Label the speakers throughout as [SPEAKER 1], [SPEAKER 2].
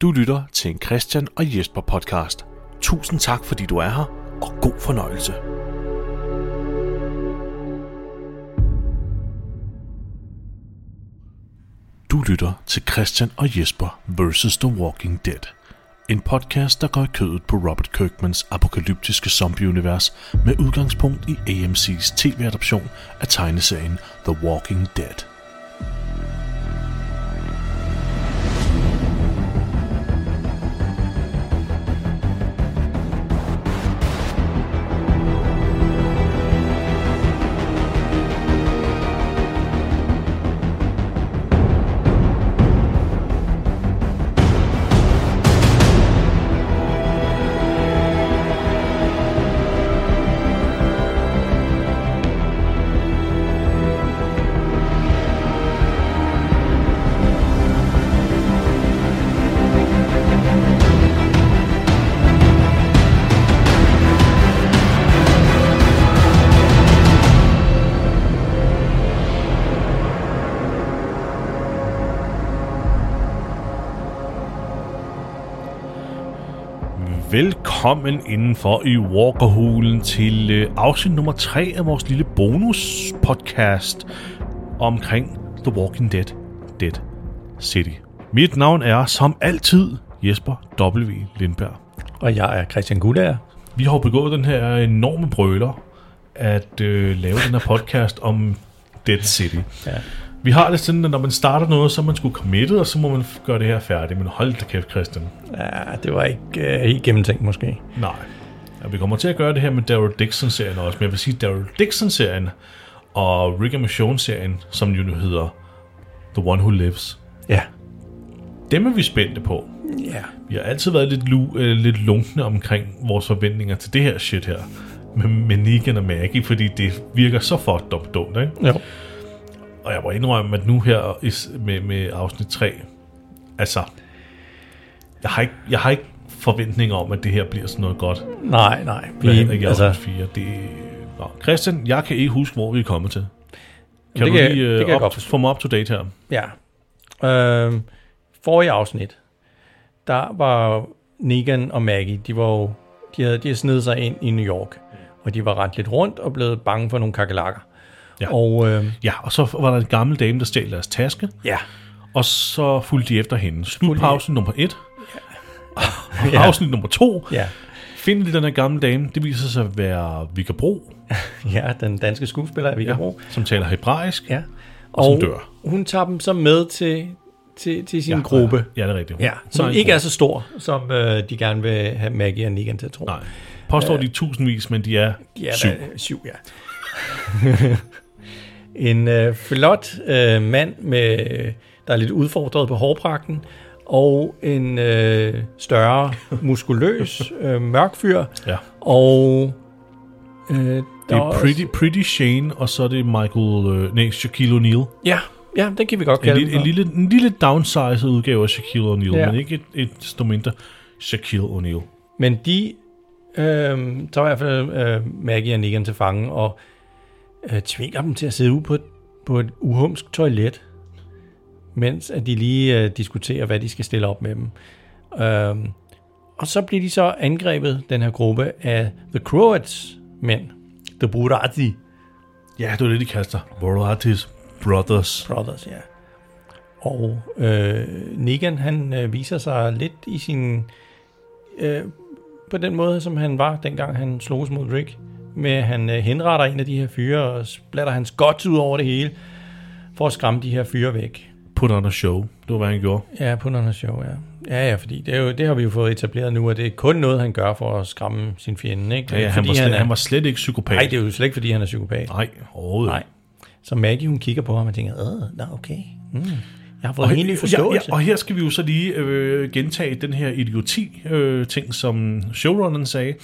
[SPEAKER 1] Du lytter til en Christian og Jesper podcast. Tusind tak, fordi du er her, og god fornøjelse. Du lytter til Christian og Jesper vs. The Walking Dead. En podcast, der går i kødet på Robert Kirkmans apokalyptiske zombieunivers med udgangspunkt i AMC's tv-adoption af tegneserien The Walking Dead. Velkommen indenfor i Walkerhulen til øh, afsnit nummer 3 af vores lille bonus podcast omkring The Walking Dead, Dead City. Mit navn er som altid Jesper W. Lindberg.
[SPEAKER 2] Og jeg er Christian Gullager.
[SPEAKER 1] Vi har jo begået den her enorme brøler at øh, lave den her podcast om Dead City.
[SPEAKER 2] Ja.
[SPEAKER 1] Vi har det sådan, at når man starter noget, så er man sgu committed, og så må man f- gøre det her færdigt. Men hold da kæft, Christian.
[SPEAKER 2] ja, det var ikke øh, helt gennemtænkt måske.
[SPEAKER 1] Nej. Ja, vi kommer til at gøre det her med Daryl Dixon-serien også, men jeg vil sige, Daryl Dixon-serien og Rick and Michonne-serien, som jo nu hedder The One Who Lives,
[SPEAKER 2] Ja.
[SPEAKER 1] dem er vi spændte på.
[SPEAKER 2] Ja.
[SPEAKER 1] Vi har altid været lidt, lu- øh, lidt lunkne omkring vores forventninger til det her shit her med, med Negan og Maggie, fordi det virker så fucked up dumt, ikke?
[SPEAKER 2] Jo.
[SPEAKER 1] Og jeg må indrømme, at nu her i s- med, med afsnit 3, altså, jeg har, ikke, jeg har ikke forventninger om, at det her bliver sådan noget godt.
[SPEAKER 2] Nej, nej. Vi,
[SPEAKER 1] Blandt andet i altså,
[SPEAKER 2] altså,
[SPEAKER 1] 4. Det, nå. Christian, jeg kan ikke huske, hvor vi er kommet til. Kan
[SPEAKER 2] det
[SPEAKER 1] du
[SPEAKER 2] kan-
[SPEAKER 1] lige
[SPEAKER 2] det
[SPEAKER 1] øh,
[SPEAKER 2] kan jeg
[SPEAKER 1] op,
[SPEAKER 2] godt.
[SPEAKER 1] få mig up to date her?
[SPEAKER 2] ja. Øhm, forrige afsnit, der var Negan og Maggie, de var jo, de havde, de havde snedet sig ind i New York. Og de var rent lidt rundt og blevet bange for nogle kakelakker.
[SPEAKER 1] Ja.
[SPEAKER 2] Og øhm,
[SPEAKER 1] Ja, og så var der en gammel dame, der stjal deres taske,
[SPEAKER 2] ja.
[SPEAKER 1] og så fulgte de efter hende. Slut på
[SPEAKER 2] de-
[SPEAKER 1] afsnit nummer 1. Ja.
[SPEAKER 2] Ja.
[SPEAKER 1] afsnit nummer 2.
[SPEAKER 2] Ja.
[SPEAKER 1] Find den her gamle dame. Det viser sig at være Vika Bro,
[SPEAKER 2] ja, den danske skuespiller, vi kan bruge.
[SPEAKER 1] som taler hebraisk.
[SPEAKER 2] Ja.
[SPEAKER 1] Og som dør.
[SPEAKER 2] hun tager dem så med til, til, til sin
[SPEAKER 1] Ja,
[SPEAKER 2] ja, gruppe.
[SPEAKER 1] Ja, det er rigtigt.
[SPEAKER 2] Ja, som
[SPEAKER 1] Nej,
[SPEAKER 2] ikke er så stor, som øh, de gerne vil have Maggie og Negan til at tro.
[SPEAKER 1] Nej. Påstår de tusindvis, men de er
[SPEAKER 2] de er
[SPEAKER 1] syv.
[SPEAKER 2] Da, syv ja. en øh, flot øh, mand, med, der er lidt udfordret på hårpragten, og en øh, større, muskuløs, øh, mørk fyr,
[SPEAKER 1] Ja.
[SPEAKER 2] og øh, det
[SPEAKER 1] Det er Pretty, pretty Shane, og så er det Michael, øh, nej, Shaquille O'Neal.
[SPEAKER 2] Ja, ja, den kan vi godt
[SPEAKER 1] En
[SPEAKER 2] kalde
[SPEAKER 1] lille, en,
[SPEAKER 2] den.
[SPEAKER 1] lille, en lille downsized udgave af Shaquille O'Neal, ja.
[SPEAKER 2] Ja.
[SPEAKER 1] men ikke et, et desto mindre Shaquille O'Neal.
[SPEAKER 2] Men de øh, tager i hvert fald øh, Maggie og Negan til fange og øh, tvinger dem til at sidde ude på et, på et uhumsk toilet, mens at de lige øh, diskuterer, hvad de skal stille op med dem. Øh, og så bliver de så angrebet, den her gruppe, af The Croats mænd. The Burati
[SPEAKER 1] Ja, det var det, de kaster. Vorotis Brothers.
[SPEAKER 2] Brothers, ja. Og øh, Negan, han øh, viser sig lidt i sin... Øh, på den måde, som han var, dengang han slogs mod Rick. Med at han øh, henretter en af de her fyre og splatter hans godt ud over det hele. For at skræmme de her fyre væk.
[SPEAKER 1] Put on a show. Det var, hvad han gjorde.
[SPEAKER 2] Ja, på noget show, ja. Ja, ja, fordi det, er jo, det har vi jo fået etableret nu, at det er kun noget, han gør for at skræmme sin fjende, ikke?
[SPEAKER 1] Ja, ja, han,
[SPEAKER 2] fordi
[SPEAKER 1] var slet, han,
[SPEAKER 2] er,
[SPEAKER 1] var slet ikke psykopat.
[SPEAKER 2] Nej, det er jo slet ikke, fordi han er psykopat.
[SPEAKER 1] Nej, overhovedet
[SPEAKER 2] Nej.
[SPEAKER 1] ikke.
[SPEAKER 2] Så Maggie, hun kigger på ham og tænker, øh, nå, okay. Mm. Jeg har fået
[SPEAKER 1] Og,
[SPEAKER 2] en helt ny
[SPEAKER 1] ja,
[SPEAKER 2] forståelse.
[SPEAKER 1] ja, og her skal vi jo så lige øh, gentage den her idioti-ting, øh, ting, som showrunneren sagde,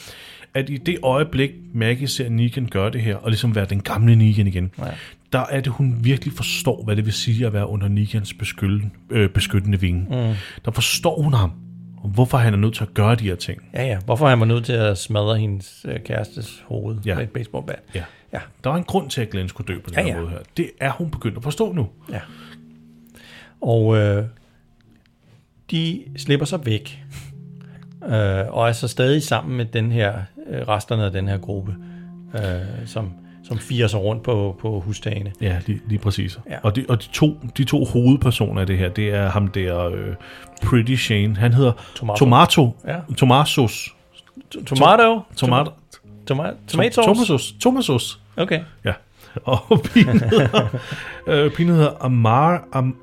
[SPEAKER 1] at i det øjeblik, Maggie ser Negan gøre det her, og ligesom være den gamle Negan igen, ja. der er det, hun virkelig forstår, hvad det vil sige at være under Negans beskyttende, øh, beskyttende vinge. Mm. Der forstår hun ham, og hvorfor han er nødt til at gøre de her ting.
[SPEAKER 2] Ja, ja. Hvorfor han var nødt til at smadre hendes øh, kærestes hoved
[SPEAKER 1] Ja.
[SPEAKER 2] ja. med et baseballbat.
[SPEAKER 1] Ja.
[SPEAKER 2] Ja.
[SPEAKER 1] Der er en grund til, at Glenn skulle dø på den
[SPEAKER 2] Ja,
[SPEAKER 1] her
[SPEAKER 2] ja.
[SPEAKER 1] måde her. Det er hun begyndt at forstå nu.
[SPEAKER 2] ja. Og øh, de slipper sig væk, øh, og er så stadig sammen med den her, øh, resterne af den her gruppe, øh, som, som firer sig rundt på, på husdagene.
[SPEAKER 1] Ja, lige, lige præcis.
[SPEAKER 2] Ja.
[SPEAKER 1] Ja. Og, de, og de, to, de to hovedpersoner af det her, det er ham der øh, Pretty Shane. Han hedder
[SPEAKER 2] Tomato.
[SPEAKER 1] Tomato. Tomato.
[SPEAKER 2] Ja.
[SPEAKER 1] Tomasos.
[SPEAKER 2] To- Tomato?
[SPEAKER 1] Tomato.
[SPEAKER 2] Toma- tomatoes?
[SPEAKER 1] Tomasos. Tomasos.
[SPEAKER 2] Okay.
[SPEAKER 1] Ja. Og pigen hedder, øh, pigen hedder Amar, Am,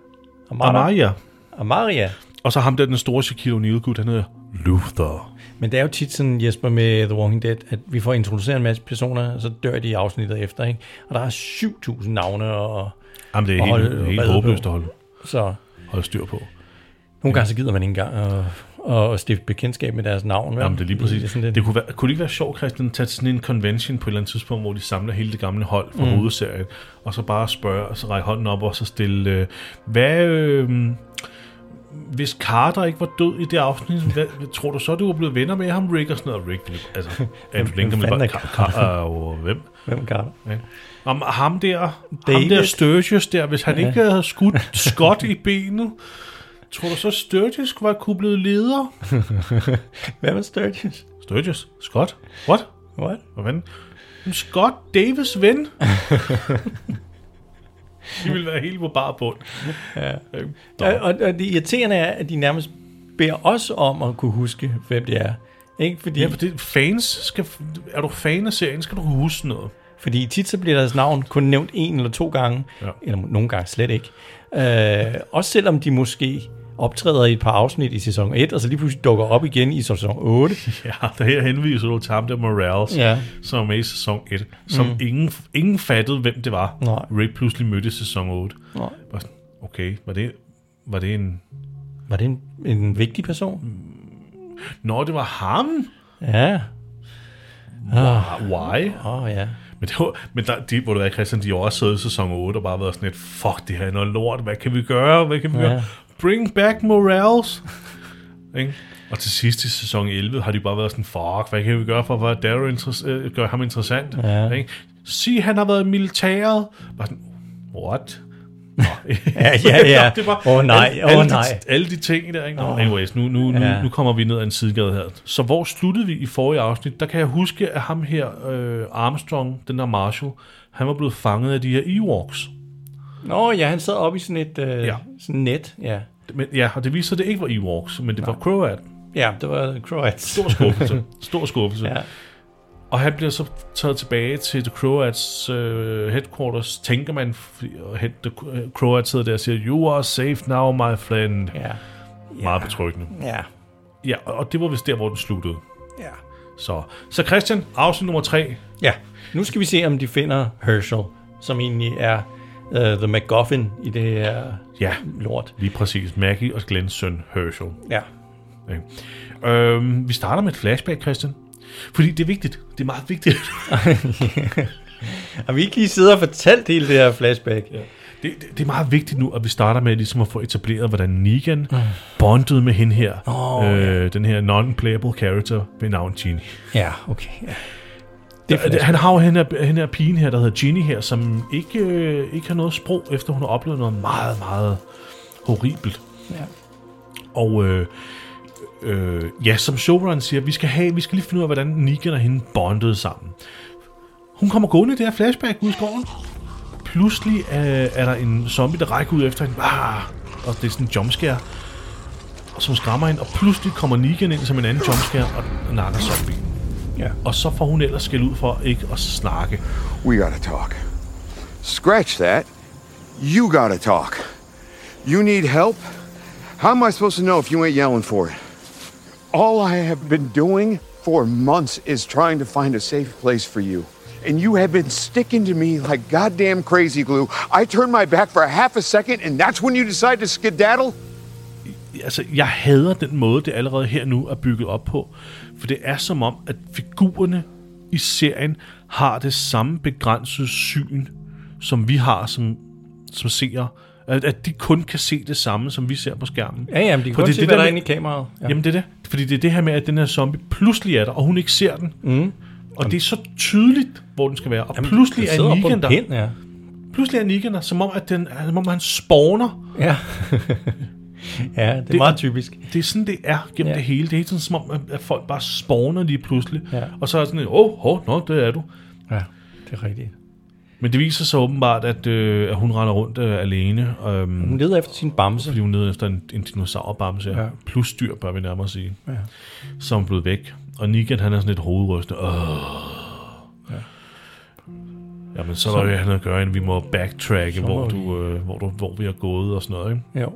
[SPEAKER 2] Amara.
[SPEAKER 1] Amaria.
[SPEAKER 2] Amaria.
[SPEAKER 1] Og så ham der, den store Shaquille O'Neal-gut, han hedder Luther.
[SPEAKER 2] Men det er jo tit sådan, Jesper, med The Walking Dead, at vi får introduceret en masse personer, og så dør de i afsnittet efter, ikke? Og der er 7.000 navne, og
[SPEAKER 1] Jamen, det er
[SPEAKER 2] Og
[SPEAKER 1] helt,
[SPEAKER 2] holde-
[SPEAKER 1] helt
[SPEAKER 2] redde
[SPEAKER 1] håbløst
[SPEAKER 2] på.
[SPEAKER 1] at holde,
[SPEAKER 2] så...
[SPEAKER 1] holde styr på.
[SPEAKER 2] Nogle gange så gider man ikke engang at, at, at stifte bekendtskab med deres navn. vel?
[SPEAKER 1] Jamen, det er lige præcis.
[SPEAKER 2] er
[SPEAKER 1] Det,
[SPEAKER 2] sådan lidt-
[SPEAKER 1] kunne, være, kunne det ikke være sjovt, Christian, at tage til sådan en convention på et eller andet tidspunkt, hvor de samler hele det gamle hold fra mm. hovedserien, og så bare spørge, og så række hånden op, og så stille, øh, hvad... Øh, hvis Carter ikke var død i det afsnit, hvad, tror du så, du var blevet venner med ham, Rick? Og sådan noget. Rick, ville- altså, Andrew Lincoln ville
[SPEAKER 2] fanden er
[SPEAKER 1] bare... Carter? Carter og hvem?
[SPEAKER 2] Hvem kan det?
[SPEAKER 1] Ja. Om ham der, ham
[SPEAKER 2] David.
[SPEAKER 1] der Sturgis der, hvis han ikke havde skudt Scott i benet, tror du så Sturgis var kunne blive leder?
[SPEAKER 2] Hvem er Sturgis?
[SPEAKER 1] Sturgis? Scott? What?
[SPEAKER 2] What?
[SPEAKER 1] Hvad fanden? Men Scott Davis ven? de ville være helt på bar bund. Ja.
[SPEAKER 2] Og, og, og det irriterende er, at de nærmest beder os om at kunne huske, hvem det er. Ikke fordi,
[SPEAKER 1] Ja, for det, fans skal, er du fan af serien, skal du kunne huske noget.
[SPEAKER 2] fordi tit så bliver deres navn kun nævnt en eller to gange, ja.
[SPEAKER 1] Ja.
[SPEAKER 2] eller nogle gange slet ikke. Øh, også selvom de måske optræder i et par afsnit i sæson 1, og så lige pludselig dukker op igen i sæson 8.
[SPEAKER 1] Ja, der her henviser du til ham der Morales,
[SPEAKER 2] Ja.
[SPEAKER 1] som er med i sæson 1, som mm. ingen, ingen fattede, hvem det var.
[SPEAKER 2] Nej.
[SPEAKER 1] Rick pludselig mødte i sæson 8.
[SPEAKER 2] Nå,
[SPEAKER 1] Bare sådan, okay, var det, var det en...
[SPEAKER 2] var det en, en vigtig
[SPEAKER 1] Mm.
[SPEAKER 2] person?
[SPEAKER 1] Nå, det var ham?
[SPEAKER 2] Ja.
[SPEAKER 1] Ah, Why?
[SPEAKER 2] Åh oh, ja.
[SPEAKER 1] Men, det var, men der, de, hvor du er, Christian, de har også siddet i sæson 8 og bare været sådan lidt, fuck, det her er noget lort, hvad kan vi gøre, hvad kan vi
[SPEAKER 2] Ja.
[SPEAKER 1] ja. gøre? Bring back Morales! Ikke? Og til sidst i sæson 11 har de bare været sådan, fuck, hvad kan vi gøre for at gøre Daryl interes- øh, gøre ham interessant?
[SPEAKER 2] Ja.
[SPEAKER 1] Ikke? Sig, han har været i militæret. Bare sådan, what? Nå.
[SPEAKER 2] Ja, ja, ja.
[SPEAKER 1] Det var-
[SPEAKER 2] Åh, nej,
[SPEAKER 1] alle-
[SPEAKER 2] åh,
[SPEAKER 1] alle de-
[SPEAKER 2] nej.
[SPEAKER 1] alle de ting der, ikke? Oh. Anyways, nu, nu, nu,
[SPEAKER 2] Ja.
[SPEAKER 1] ja. nu kommer vi ned ad en sidegade her. Så hvor sluttede vi i forrige afsnit? Der kan jeg huske, at ham her, øh, Armstrong, den der Marshall, han var blevet fanget af de her Ewoks.
[SPEAKER 2] Nå ja, han sad oppe i sådan et øh, ja.
[SPEAKER 1] Ja.
[SPEAKER 2] sådan net. Ja.
[SPEAKER 1] Men, ja, og det viste sig, at det ikke var Ewoks, men det var Croat.
[SPEAKER 2] ja, det var Croats.
[SPEAKER 1] Stor skuffelse. Stor skuffelse.
[SPEAKER 2] Ja.
[SPEAKER 1] Og han bliver så taget tilbage til The Croats øh, headquarters, tænker man, fordi- og hen- The øh, Croats sidder der og siger, You are safe now, my friend.
[SPEAKER 2] Ja.
[SPEAKER 1] Ja. Meget betryggende.
[SPEAKER 2] Ja.
[SPEAKER 1] Ja, og det var vist der, hvor den sluttede.
[SPEAKER 2] Ja.
[SPEAKER 1] Så, så Christian, afsnit nummer tre.
[SPEAKER 2] Ja. Nu skal vi se, om de finder Herschel, som egentlig er uh, The MacGuffin i det her
[SPEAKER 1] Ja,
[SPEAKER 2] lort.
[SPEAKER 1] lige præcis. Maggie og Glens søn, Herschel.
[SPEAKER 2] Ja.
[SPEAKER 1] Okay. Øhm, vi starter med et flashback, Christian. Fordi det er vigtigt. Det er meget vigtigt.
[SPEAKER 2] Har vi ikke lige siddet og fortalt hele det her flashback? Ja.
[SPEAKER 1] Det, det, det er meget vigtigt nu, at vi starter med ligesom at få etableret, hvordan Negan bondede med hende her.
[SPEAKER 2] Åh,
[SPEAKER 1] øh, den her non-playable character ved navn Ginny.
[SPEAKER 2] ja, okay. Ja.
[SPEAKER 1] Det er han har jo hende her, hende her pigen her, der hedder Ginny her, som ikke, øh, ikke har noget sprog, efter hun har oplevet noget meget, meget horribelt.
[SPEAKER 2] Ja.
[SPEAKER 1] Og øh, øh, ja, som showrunneren siger, vi skal, have, vi skal lige finde ud af, hvordan Negan og hende bondede sammen. Hun kommer gående i det her flashback ud i skoven. Pludselig øh, er der en zombie, der rækker ud efter hende. Ah, og det er sådan en jumpscare, og som skræmmer hende. Og pludselig kommer Negan ind som en anden jumpscare og nakker zombien.
[SPEAKER 2] ja.
[SPEAKER 1] Og så får hun ellers skæld ud for ikke at snakke.
[SPEAKER 3] We gotta talk. Scratch that. You gotta talk. You need help? How am I supposed to know if you ain't yelling for it? All I have been doing for months is trying to find a safe place for you. And you have been sticking to me like goddamn crazy glue. I turn my back for a half a second, and that's when you decide to skedaddle?
[SPEAKER 1] altså, jeg hader den måde, det allerede her nu er bygget op på. For det er som om, at figurerne i serien har det samme begrænsede syn, som vi har som, som seere. At, at de kun kan se det samme, som vi ser på skærmen.
[SPEAKER 2] Ja, ja, men de kan
[SPEAKER 1] Fordi
[SPEAKER 2] godt se,
[SPEAKER 1] det
[SPEAKER 2] hvad
[SPEAKER 1] der
[SPEAKER 2] der er
[SPEAKER 1] med-
[SPEAKER 2] inde i kameraet. Ja.
[SPEAKER 1] Jamen det er det. Fordi det er det her med, at den her zombie pludselig er der, og hun ikke ser den. Mm. Og det er så tydeligt, hvor den skal være. Og Jamen, pludselig,
[SPEAKER 2] Den
[SPEAKER 1] er
[SPEAKER 2] sidder på en
[SPEAKER 1] Negan der.
[SPEAKER 2] pind, ja.
[SPEAKER 1] pludselig er Negan der, som om, at den, som om han spawner
[SPEAKER 2] Ja. Ja, det er
[SPEAKER 1] Det-
[SPEAKER 2] det, meget typisk.
[SPEAKER 1] Det er sådan, det er gennem
[SPEAKER 2] Ja.
[SPEAKER 1] det hele. Det er hele tiden som om, at- at folk bare spawner lige pludselig.
[SPEAKER 2] Ja.
[SPEAKER 1] Og så er det sådan, åh, oh, oh, nå, det er du.
[SPEAKER 2] Ja, det er rigtigt.
[SPEAKER 1] Men det viser sig åbenbart, at, øh, at hun render rundt øh, alene, øhm,
[SPEAKER 2] Hun leder efter sin bamse.
[SPEAKER 1] fordi hun er nede efter en, en dinosaurbamse, ja.
[SPEAKER 2] Ja.
[SPEAKER 1] plus dyr, bør vi nærmere sige,
[SPEAKER 2] Ja.
[SPEAKER 1] som er blevet væk. Og Negan, han er sådan lidt hovedrystende. Åh. Ja. Jamen, så er der jo ikke andet at gøre, end vi må backtracke,
[SPEAKER 2] må
[SPEAKER 1] hvor,
[SPEAKER 2] vi-
[SPEAKER 1] du, øh, hvor, du, hvor vi har gået og sådan noget. Ikke?
[SPEAKER 2] Jo.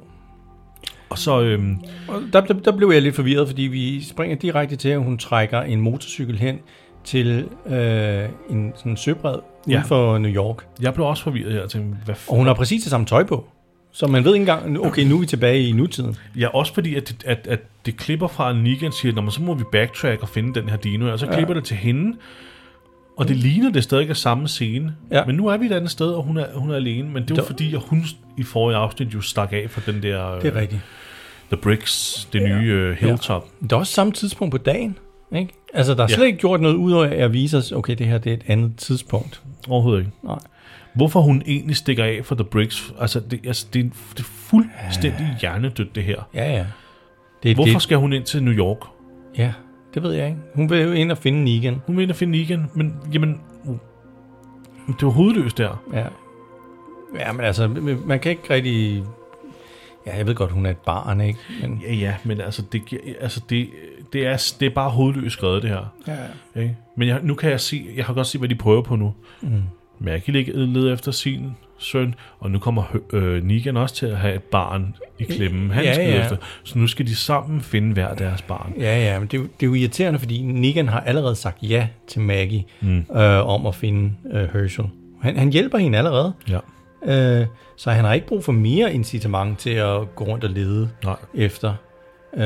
[SPEAKER 1] Og så, øhm,
[SPEAKER 2] Og der, der, der blev jeg lidt forvirret, fordi vi springer direkte til, at hun trækker en motorcykel hen til øh, en sådan søbred uden
[SPEAKER 1] Ja.
[SPEAKER 2] for New York.
[SPEAKER 1] jeg blev også forvirret her og tænkte, hvad f-
[SPEAKER 2] Og hun har præcis det samme tøj på. Så man ved ikke engang, okay, nu er vi tilbage i nutiden.
[SPEAKER 1] Ja, også fordi, at det, at, at det klipper fra, at Negan siger, "Nå, men så må vi backtrack og finde den her dino, her." og så klipper det til hende, og det ligner, det stadig er samme scene.
[SPEAKER 2] Ja.
[SPEAKER 1] Men nu er vi et andet sted, og hun er, hun er alene, men det er jo
[SPEAKER 2] Der-
[SPEAKER 1] fordi, at hun i forrige afsnit jo stak af fra den der øh,
[SPEAKER 2] rigtigt.
[SPEAKER 1] The Bricks, det nye uh, hilltop.
[SPEAKER 2] Det er også samme tidspunkt på dagen, ikke? Altså, der er slet ikke gjort noget ud af at vise os, okay, det her det er et andet tidspunkt.
[SPEAKER 1] Overhovedet ikke.
[SPEAKER 2] Nej.
[SPEAKER 1] Hvorfor hun egentlig stikker af fra The Bricks, altså det, altså, det, er, en- det er fuldstændig hjernedødt, det her.
[SPEAKER 2] Ja, ja. Det er
[SPEAKER 1] Hvorfor
[SPEAKER 2] det.
[SPEAKER 1] skal hun ind til New York?
[SPEAKER 2] Ja, det ved jeg ikke. Hun vil jo ind og finde Negan.
[SPEAKER 1] Hun vil ind og finde Negan, men jamen, det er jo hovedløst der.
[SPEAKER 2] Ja. Ja, men altså, man kan ikke rigtig... Ja, jeg ved godt, hun er et barn, ikke? Men,
[SPEAKER 1] Ja, ja, men altså, det, giver- altså det, det, er, det er bare hovedløst skrevet, det her.
[SPEAKER 2] ja.
[SPEAKER 1] Ikke? Men jeg, nu kan jeg se, jeg kan godt se, hvad de prøver på nu. Mm. Maggie ligger leder efter sin søn, og nu kommer hø- øh, Negan også til at have et barn i klemmen. Han
[SPEAKER 2] Ja,
[SPEAKER 1] skal
[SPEAKER 2] ja.
[SPEAKER 1] efter. Så nu skal de sammen finde hver deres barn.
[SPEAKER 2] Ja, ja, men det, er jo- det er jo irriterende, fordi Negan har allerede sagt ja til Maggie mm. øh, om at finde øh, Herschel. Han, han hjælper hende allerede,
[SPEAKER 1] Ja.
[SPEAKER 2] øh, så han har ikke brug for mere incitament til at gå rundt og lede
[SPEAKER 1] Nej.
[SPEAKER 2] efter øh,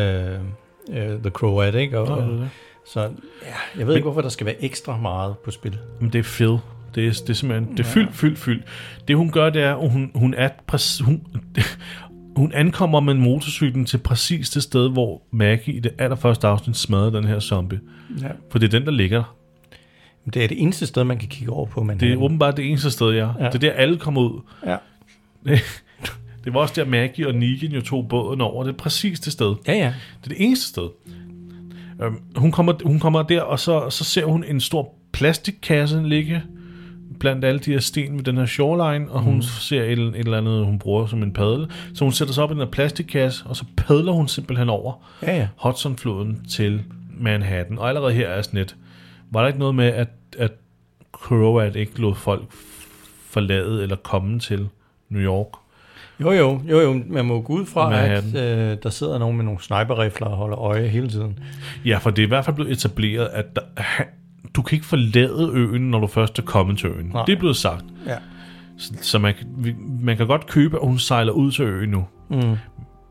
[SPEAKER 2] øh, The Croat, ikke? Og,
[SPEAKER 1] det er det.
[SPEAKER 2] Så ja, jeg ved ikke, hvorfor der skal være ekstra meget på spil.
[SPEAKER 1] Men det er fedt. Det er, det er simpelthen, det er fyldt, fyldt, fyldt. Det hun gør, det er, at hun, hun, er præcis, hun, hun ankommer med motorcyklen til præcis det sted, hvor Maggie i det allerførste afsnit smadrer den her zombie.
[SPEAKER 2] Ja.
[SPEAKER 1] For det er den, der ligger der.
[SPEAKER 2] Det er det eneste sted, man kan kigge over på. Man
[SPEAKER 1] Det er åbenbart det eneste sted, jeg er. Ja.
[SPEAKER 2] Ja.
[SPEAKER 1] Det er der, alle kommer ud.
[SPEAKER 2] ja.
[SPEAKER 1] Det var også der, Maggie og Negan jo tog båden over. Det er præcis det sted.
[SPEAKER 2] ja, ja.
[SPEAKER 1] Det er det eneste sted. Øhm, hun, kommer, hun kommer der, og så, så ser hun en stor plastikkasse ligge blandt alle de her sten ved den her shoreline, og hun mm. ser et, et eller andet, hun bruger som en padel. Så hun sætter sig op i den her plastikkasse, og så padler hun simpelthen over
[SPEAKER 2] Ja, ja.
[SPEAKER 1] Hudsonfloden til Manhattan. Og allerede her er sådan et, var der ikke noget med, at, at Croat ikke lod folk forlade eller komme til New York?
[SPEAKER 2] Jo, jo, jo, jo. Man må gå ud fra, at
[SPEAKER 1] Manhattan.
[SPEAKER 2] øh, der sidder nogen med nogle sniperrifler og holder øje hele tiden.
[SPEAKER 1] Ja, for det er i hvert fald blevet etableret, at der, du kan ikke forlade øen, når du først er kommet til øen. Nej.
[SPEAKER 2] Nej.
[SPEAKER 1] Det er blevet sagt.
[SPEAKER 2] Ja.
[SPEAKER 1] Så, så man, kan- vi- man kan godt købe, at hun sejler ud til øen nu. Mm.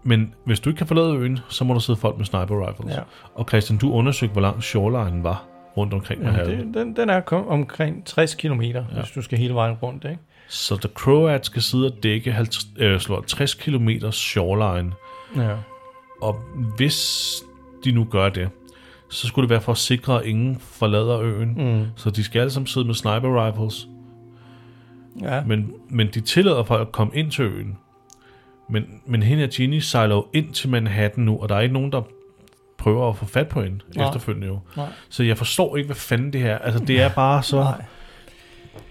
[SPEAKER 1] Men hvis du ikke kan forlade øen, så må der sidde folk med sniper rifles.
[SPEAKER 2] Ja.
[SPEAKER 1] Og Christian, du undersøgte, hvor lang shorelinen var rundt omkring ja, det...
[SPEAKER 2] Det, den, den er kom, omkring 60 km, ja. hvis du skal hele vejen rundt. Ikke?
[SPEAKER 1] Så The Croat skal sidde og dække 50, øh, slår 60 km shoreline.
[SPEAKER 2] Ja.
[SPEAKER 1] Og hvis de nu gør det, så skulle det være for at sikre, at ingen forlader øen. Mm. Så de skal alle sammen sidde med sniper rifles.
[SPEAKER 2] ja.
[SPEAKER 1] Men, men de tillader folk at komme ind til øen. Men, men hende og Ginny sejler jo ind til Manhattan nu, og der er ikke nogen, der prøver at få fat på hende Nej.
[SPEAKER 2] Nej.
[SPEAKER 1] efterfølgende jo.
[SPEAKER 2] Nej.
[SPEAKER 1] Så jeg forstår ikke, hvad fanden det her Altså, det er bare så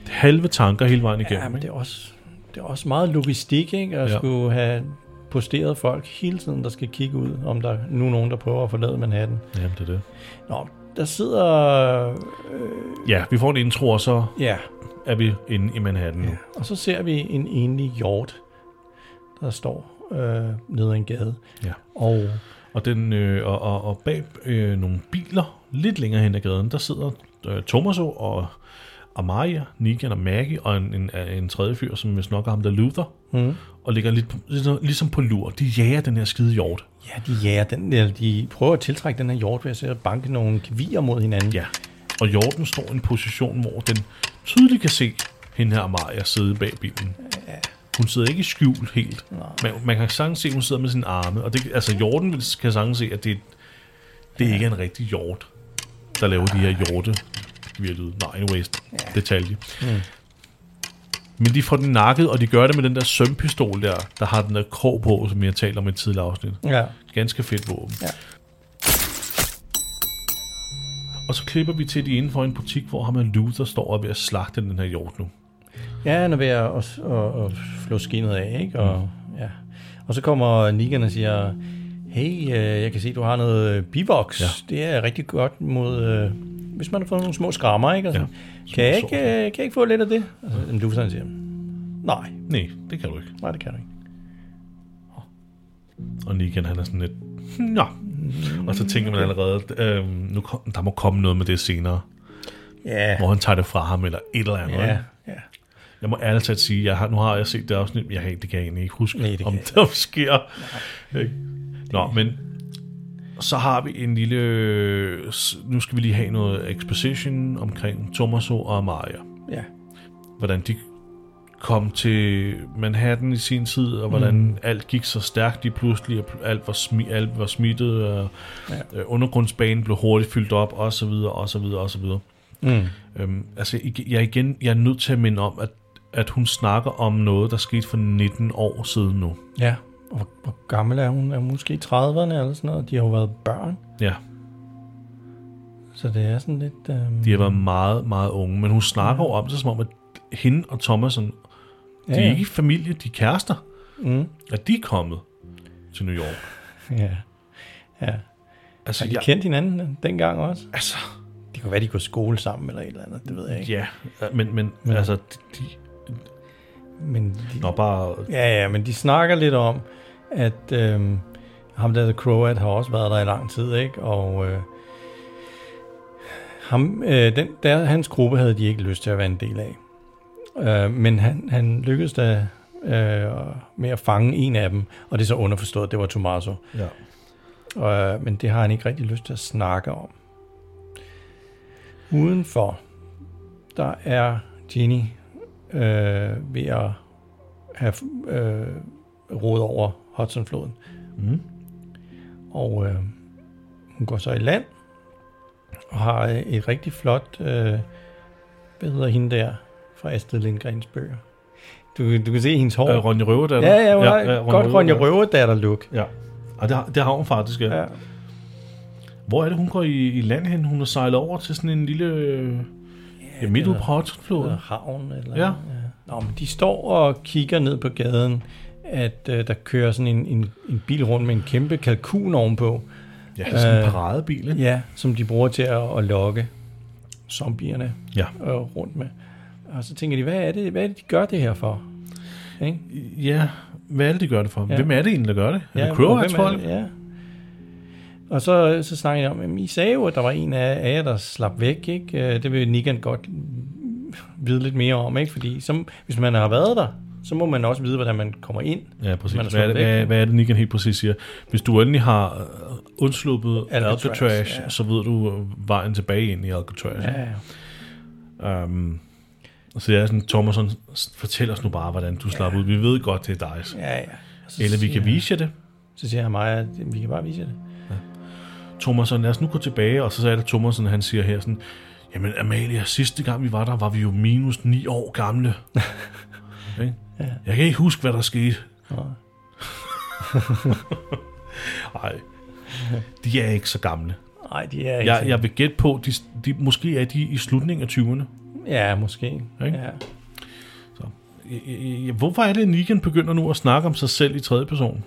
[SPEAKER 1] halve tanker hele vejen igennem.
[SPEAKER 2] ja, men
[SPEAKER 1] ikke?
[SPEAKER 2] det er, også, det er også meget logistik, ikke? At
[SPEAKER 1] Ja.
[SPEAKER 2] ja. skulle have posteret folk hele tiden, der skal kigge ud, om der nu er nogen, der prøver at forlade Manhattan.
[SPEAKER 1] Jamen, det er det.
[SPEAKER 2] Nå, der sidder...
[SPEAKER 1] Ja, vi får en intro, og så
[SPEAKER 2] Ja,
[SPEAKER 1] er vi inde i Manhattan nu.
[SPEAKER 2] og så ser vi en enlig hjort, der står øh, nede ad en gade.
[SPEAKER 1] Ja.
[SPEAKER 2] Og
[SPEAKER 1] Og, den, øh, og, og, og bag øh, nogle biler, lidt længere hen ad gaden, der sidder øh, Tomaso og Amaria, Negan og Maggie, og en, en, en tredje fyr, som vist nok er ham, der Luther, mm. og ligger lidt, ligesom, ligesom på lur. De jager den her skide hjort.
[SPEAKER 2] ja, de, jager den, eller de prøver at tiltrække den her hjort ved at sidde og banke nogle kavier mod hinanden.
[SPEAKER 1] Ja. Og hjorten står i en position, hvor den tydeligt kan se hende her Amaria sidde bag bilen. Hun sidder ikke i skjul helt. Man, man kan sagtens se, at hun sidder med sine arme. Og det, altså, hjorten vil- kan sagtens se, at det, det ikke er en rigtig hjort, der laver de her hjorte virkelig. Nej, anyways, detalje. Men de får den nakket, og de gør det med den der sømpistol der, der har den der krog på, som jeg talte om i et tidligere afsnit.
[SPEAKER 2] Ja.
[SPEAKER 1] Ganske fedt våben.
[SPEAKER 2] Ja.
[SPEAKER 1] Og så klipper vi til de inden for en butik, hvor ham og Luther står og er ved at slagte den her hjort nu.
[SPEAKER 2] Ja, han er ved at, at, at, at flå skinnet af, ikke? Og, ja. og så kommer Negan og siger, hey, øh, jeg kan se, du har noget øh, bivox. Ja. Det er rigtig godt mod, øh, hvis man har fået nogle små skrammer, ikke? Og sådan, ja. kan, jeg ikke, øh, kan jeg ikke få lidt af det? Og så, jamen, du sådan siger, nej,
[SPEAKER 1] Nej, det kan du ikke.
[SPEAKER 2] nej, det kan du ikke.
[SPEAKER 1] Og Negan, han er sådan lidt, nå. Og så tænker man allerede, øhm, nu kom, der må komme noget med det senere,
[SPEAKER 2] Ja,
[SPEAKER 1] hvor han tager det fra ham, eller et eller andet. ikke?
[SPEAKER 2] ja, ja.
[SPEAKER 1] Jeg må ærligt talt sige, jeg har, nu har jeg set det afsnit, men jeg, kan- det kan jeg egentlig ikke huske,
[SPEAKER 2] Nej, det kan
[SPEAKER 1] om
[SPEAKER 2] jeg
[SPEAKER 1] det sker. Ikke? Nå, men så har vi en lille... øh, s- Nu skal vi lige have noget exposition omkring Tommaso og Maria.
[SPEAKER 2] ja.
[SPEAKER 1] Hvordan de kom til Manhattan i sin tid, og hvordan mm. alt gik så stærkt lige pludselig, og pl- alt var, smi, alt var smittet, og ja. øh, undergrundsbanen blev hurtigt fyldt op, og så videre, og så videre, og så videre.
[SPEAKER 2] Mm.
[SPEAKER 1] Øhm, altså, ig- jeg, er igen, jeg er nødt til at minde om, at, at hun snakker om noget, der skete for 19 år siden nu.
[SPEAKER 2] Ja, og hvor, hvor gammel er hun? Er hun måske i 30'erne eller sådan noget? De har jo været børn,
[SPEAKER 1] Ja,
[SPEAKER 2] så det er sådan lidt... Øh...
[SPEAKER 1] de har været meget, meget unge, men hun snakker jo om det, som om, at hende og Thomasen, de er
[SPEAKER 2] ja.
[SPEAKER 1] ikke familie, de er kærester,
[SPEAKER 2] Mm.
[SPEAKER 1] at de er kommet til New York.
[SPEAKER 2] Ja, ja.
[SPEAKER 1] Altså,
[SPEAKER 2] Har de
[SPEAKER 1] jeg,
[SPEAKER 2] kendt hinanden dengang også?
[SPEAKER 1] altså,
[SPEAKER 2] Det kunne være, de kunne skole sammen eller et eller andet, det ved jeg ikke.
[SPEAKER 1] ja, men, men
[SPEAKER 2] Ja.
[SPEAKER 1] altså, de, de,
[SPEAKER 2] Men de,
[SPEAKER 1] nå, bare,
[SPEAKER 2] ja, ja, men de snakker lidt om, at øhm, ham der The Croat har også været der i lang tid, ikke? Og øh, ham, øh, den, der, hans gruppe havde de ikke lyst til at være en del af. Øh, men han, han lykkedes da øh, med at fange en af dem, og det er så underforstået, det var Tommaso.
[SPEAKER 1] ja.
[SPEAKER 2] Øh, men det har han ikke rigtig lyst til at snakke om. Udenfor, der er Ginny øh, ved at have øh, råd over Hudsonfloden.
[SPEAKER 1] Mm.
[SPEAKER 2] Og øh, hun går så i land og har øh, et rigtig flot, øh, hvad hedder hende der, fra Astrid Lindgrens bøger. Du, du kan se hendes hår.
[SPEAKER 1] Øh, Ronja Røverdatter.
[SPEAKER 2] ja, ja, hun ja, ja, godt Ronja
[SPEAKER 1] Røverdatter.
[SPEAKER 2] Røverdatter-look.
[SPEAKER 1] Ja, og det har, det har hun faktisk, ja.
[SPEAKER 2] Ja.
[SPEAKER 1] Hvor er det, hun går i, i land hen? Hun har sejlet over til sådan en lille... Øh, ja, midt ude på Hotsfloden.
[SPEAKER 2] Eller havn. Eller,
[SPEAKER 1] Ja.
[SPEAKER 2] Nå, men de står og kigger ned på gaden, at øh, der kører sådan en, en, en bil rundt med en kæmpe kalkun ovenpå,
[SPEAKER 1] Ja, det er sådan en
[SPEAKER 2] Øh,
[SPEAKER 1] paradebil, ikke?
[SPEAKER 2] ja. som de bruger til at, at lokke zombierne
[SPEAKER 1] Ja.
[SPEAKER 2] øh, rundt med. Og så tænker de, hvad er det, hvad er det de gør det her for? Ikke?
[SPEAKER 1] Ja, hvad er det, de gør det for? Ja.
[SPEAKER 2] Ja.
[SPEAKER 1] Hvem er det egentlig, der gør det? Er ja, det
[SPEAKER 2] og hvem
[SPEAKER 1] Crowheads
[SPEAKER 2] er
[SPEAKER 1] folk?
[SPEAKER 2] det? Ja. Og så, så snakker jeg om, at I sagde jo, at der var en af af jer, der slap væk. Ikke? Øh, Det vil Nikan godt vide lidt mere om. Ikke? Fordi som, hvis man har været der, så må man også vide, hvordan man kommer ind.
[SPEAKER 1] Ja, præcis.
[SPEAKER 2] Man er
[SPEAKER 1] Hvad er, det,
[SPEAKER 2] sluppet væk.
[SPEAKER 1] hvad, hvad er det, Nikan helt præcis siger? Hvis du endelig har øh, undsluppet
[SPEAKER 2] Alcatraz,
[SPEAKER 1] Alcatraz,
[SPEAKER 2] ja.
[SPEAKER 1] så ved du øh, vejen tilbage ind i Alcatraz. Ja. Um, så jeg er sådan, Thomas, sådan, s- fortæl os nu bare, hvordan du slap ud. Vi ved godt, det er dig.
[SPEAKER 2] ja, ja. Og Så
[SPEAKER 1] Eller vi
[SPEAKER 2] siger-
[SPEAKER 1] kan vise jer det.
[SPEAKER 2] Så siger jeg mig, at vi kan bare vise jer det.
[SPEAKER 1] Thomasen, lad os nu gå tilbage, og så er det Thomasen, han siger her sådan, jamen Amalia, sidste gang vi var der, var vi jo minus 9 år gamle. Ikke? Jeg kan ikke huske, hvad der skete. Nej. de er ikke så gamle.
[SPEAKER 2] Nej, de er ikke
[SPEAKER 1] Jeg,
[SPEAKER 2] sådan-
[SPEAKER 1] jeg vil gætte på, de, de, måske er de i slutningen af 20'erne.
[SPEAKER 2] Ja, måske.
[SPEAKER 1] Ikke?
[SPEAKER 2] Ja.
[SPEAKER 1] Jeg- jeg- jeg- Hvorfor er det, at Negan begynder nu at snakke om sig selv i tredje person?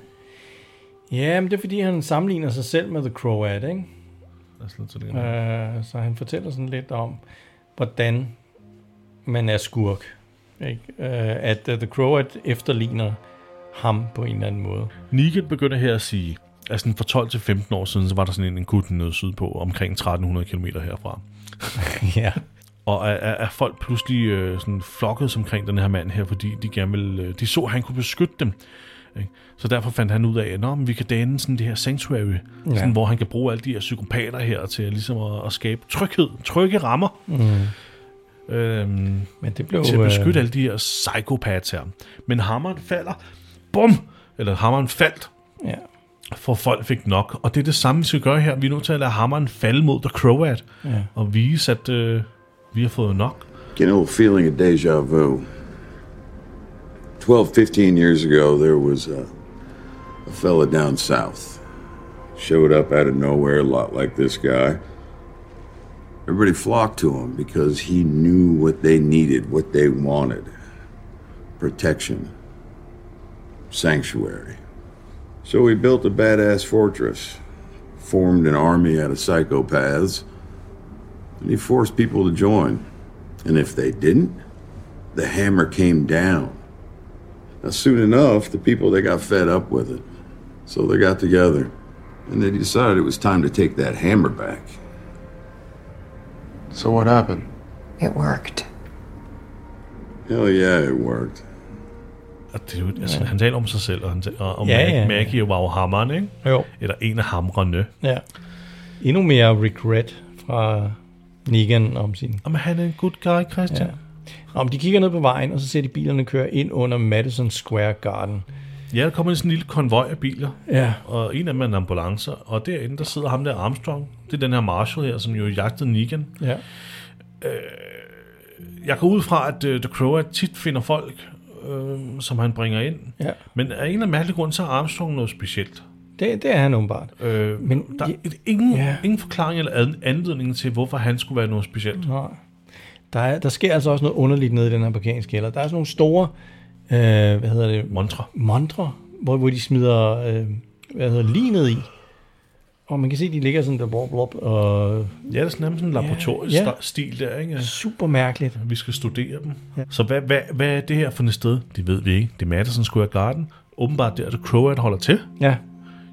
[SPEAKER 2] ja, men det er fordi, han sammenligner sig selv med The Croat, ikke?
[SPEAKER 1] Lad os lige tage det her.
[SPEAKER 2] Øh, så han fortæller sådan lidt om, hvordan man er skurk. Ikke? Øh, at uh, The Croat efterligner ham på en eller anden måde.
[SPEAKER 1] Negan begynder her at sige, at sådan for 12 til 15 år siden, så var der sådan en, en gut nede sydpå, omkring 1300 km herfra.
[SPEAKER 2] ja.
[SPEAKER 1] Og er, er, er folk pludselig øh, sådan flokket omkring den her mand her, fordi de gerne ville, øh, de så, at han kunne beskytte dem. Ikke? Så derfor fandt han ud af, at Nå, men vi kan danne sådan det her sanctuary, ja. sådan, hvor han kan bruge alle de her psykopater her til at, ligesom at, at skabe tryghed, trygge rammer. Mm. Øhm,
[SPEAKER 2] Men det blev...
[SPEAKER 1] til at beskytte
[SPEAKER 2] øh,
[SPEAKER 1] alle de her psykopater her. Men hammeren falder. Bum! Eller hammeren faldt,
[SPEAKER 2] ja.
[SPEAKER 1] for folk fik nok. Og det er det samme, vi skal gøre her. Vi er nødt til at lade hammeren falde mod The Croat,
[SPEAKER 2] Ja.
[SPEAKER 1] og vise, at øh, vi har fået nok.
[SPEAKER 4] Get an old feeling of deja vu. 12, 15 years ago, there was a, a fella down south. Showed up out of nowhere, a lot like this guy. Everybody flocked to him because he knew what they needed, what they wanted protection, sanctuary. So we built a badass fortress, formed an army out of psychopaths, and he forced people to join. And if they didn't, the hammer came down. Now, soon enough, the people they got fed up with it, so they got together, and they decided it was time to take that hammer back.
[SPEAKER 5] So what happened?
[SPEAKER 6] It worked.
[SPEAKER 4] Hell yeah, it worked.
[SPEAKER 1] Og det, er jo- altså, Han taler om sig selv, og, han taler, og, og
[SPEAKER 2] Ja,
[SPEAKER 1] Mag-
[SPEAKER 2] ja, ja.
[SPEAKER 1] Maggie var jo hammeren, ikke?
[SPEAKER 2] Jo.
[SPEAKER 1] Eller en af hamrene.
[SPEAKER 2] Ja. Endnu mere regret fra Negan om sin...
[SPEAKER 1] Jamen, han er en good guy, Christian.
[SPEAKER 2] Ja. Om de kigger ned på vejen, og så ser de bilerne køre ind under Madison Square Garden.
[SPEAKER 1] Ja, der kommer sådan en lille konvoj af biler,
[SPEAKER 2] Ja.
[SPEAKER 1] og en af dem er en ambulance, og derinde, der sidder ham der Armstrong. Det er den her Marshall her, som jo jagtede Negan.
[SPEAKER 2] Ja.
[SPEAKER 1] Jeg går ud fra, at uh, The Crow tit finder folk, øh, som han bringer ind.
[SPEAKER 2] ja.
[SPEAKER 1] Men af en eller anden mærkelig grund, så er Armstrong noget specielt.
[SPEAKER 2] Det, det er han åbenbart.
[SPEAKER 1] Øh,
[SPEAKER 2] Men
[SPEAKER 1] Men, der er
[SPEAKER 2] ja-
[SPEAKER 1] et- ingen,
[SPEAKER 2] ja.
[SPEAKER 1] yeah. ingen forklaring eller ad- anledning til, hvorfor han skulle være noget specielt.
[SPEAKER 2] Nej. Der, er, der sker altså også noget underligt nede i den her parkeringskælder. Der er sådan nogle store, øh, hvad hedder det,
[SPEAKER 1] Montre.
[SPEAKER 2] montre, hvor, hvor de smider, øh, hvad hedder linet i. Og man kan se, de ligger sådan der, blop, blop, og
[SPEAKER 1] Ja, det er sådan nærmest sådan en laboratorisk
[SPEAKER 2] Ja,
[SPEAKER 1] yeah,
[SPEAKER 2] ja.
[SPEAKER 1] stil der, ikke? Altså,
[SPEAKER 2] super mærkeligt.
[SPEAKER 1] Vi skal studere dem. Så hvad, hvad, hvad er det her for et sted? Det ved vi ikke. Det er Madison Square Garden. Åbenbart der, at Croat holder til.
[SPEAKER 2] Ja,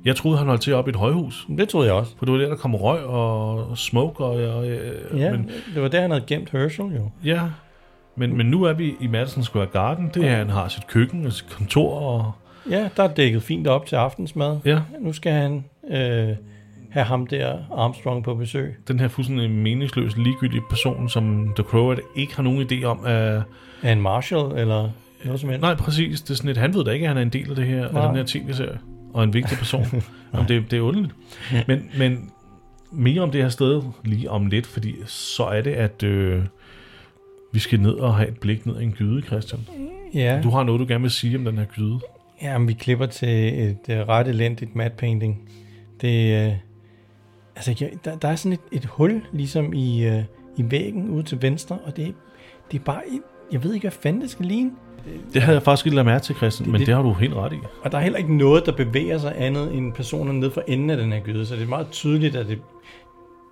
[SPEAKER 1] Jeg troede, han holdt til op i et højhus.
[SPEAKER 2] det troede jeg også.
[SPEAKER 1] For det var der, der kom røg og smoke. Og, og, øh,
[SPEAKER 2] Ja,
[SPEAKER 1] Men,
[SPEAKER 2] men, det var der, han havde gemt Herschel jo.
[SPEAKER 1] ja. Men, men nu er vi i Madison Square Garden. Det er her, han har sit køkken og sit kontor. Og,
[SPEAKER 2] Ja, der er dækket fint op til aftensmad.
[SPEAKER 1] ja,
[SPEAKER 2] Nu skal han øh, have ham der, Armstrong, på besøg.
[SPEAKER 1] den her fuldstændig meningsløse, ligegyldige person, som The Crow ikke har nogen idé om. Uh,
[SPEAKER 2] Er en Marshall, eller noget som helst.
[SPEAKER 1] nej, præcis. Det er sådan et, han ved da ikke, at han er en del af det her, af
[SPEAKER 2] Nej.
[SPEAKER 1] den her tv-serie. Og en vigtig person. Jamen, det, det er underligt. Men, men mere om det her sted lige om lidt, fordi så er det, at øh, vi skal ned og have et blik ned i en gyde, Christian.
[SPEAKER 2] Ja.
[SPEAKER 1] Du har noget, du gerne vil sige om den her gyde.
[SPEAKER 2] Jamen, vi klipper til et uh, ret elendigt matte painting. Det, uh, altså, jeg, der, der er sådan et, et hul, ligesom i, uh, i væggen ude til venstre, og det, det er bare, jeg ved ikke, hvad fanden det skal ligne.
[SPEAKER 1] Det havde jeg faktisk ikke lagt mærke til, Christian, men
[SPEAKER 2] det-
[SPEAKER 1] det har du helt ret i.
[SPEAKER 2] Og der er heller ikke noget, der bevæger sig andet end personerne nede for enden af den her gyde, så det er meget tydeligt, at det,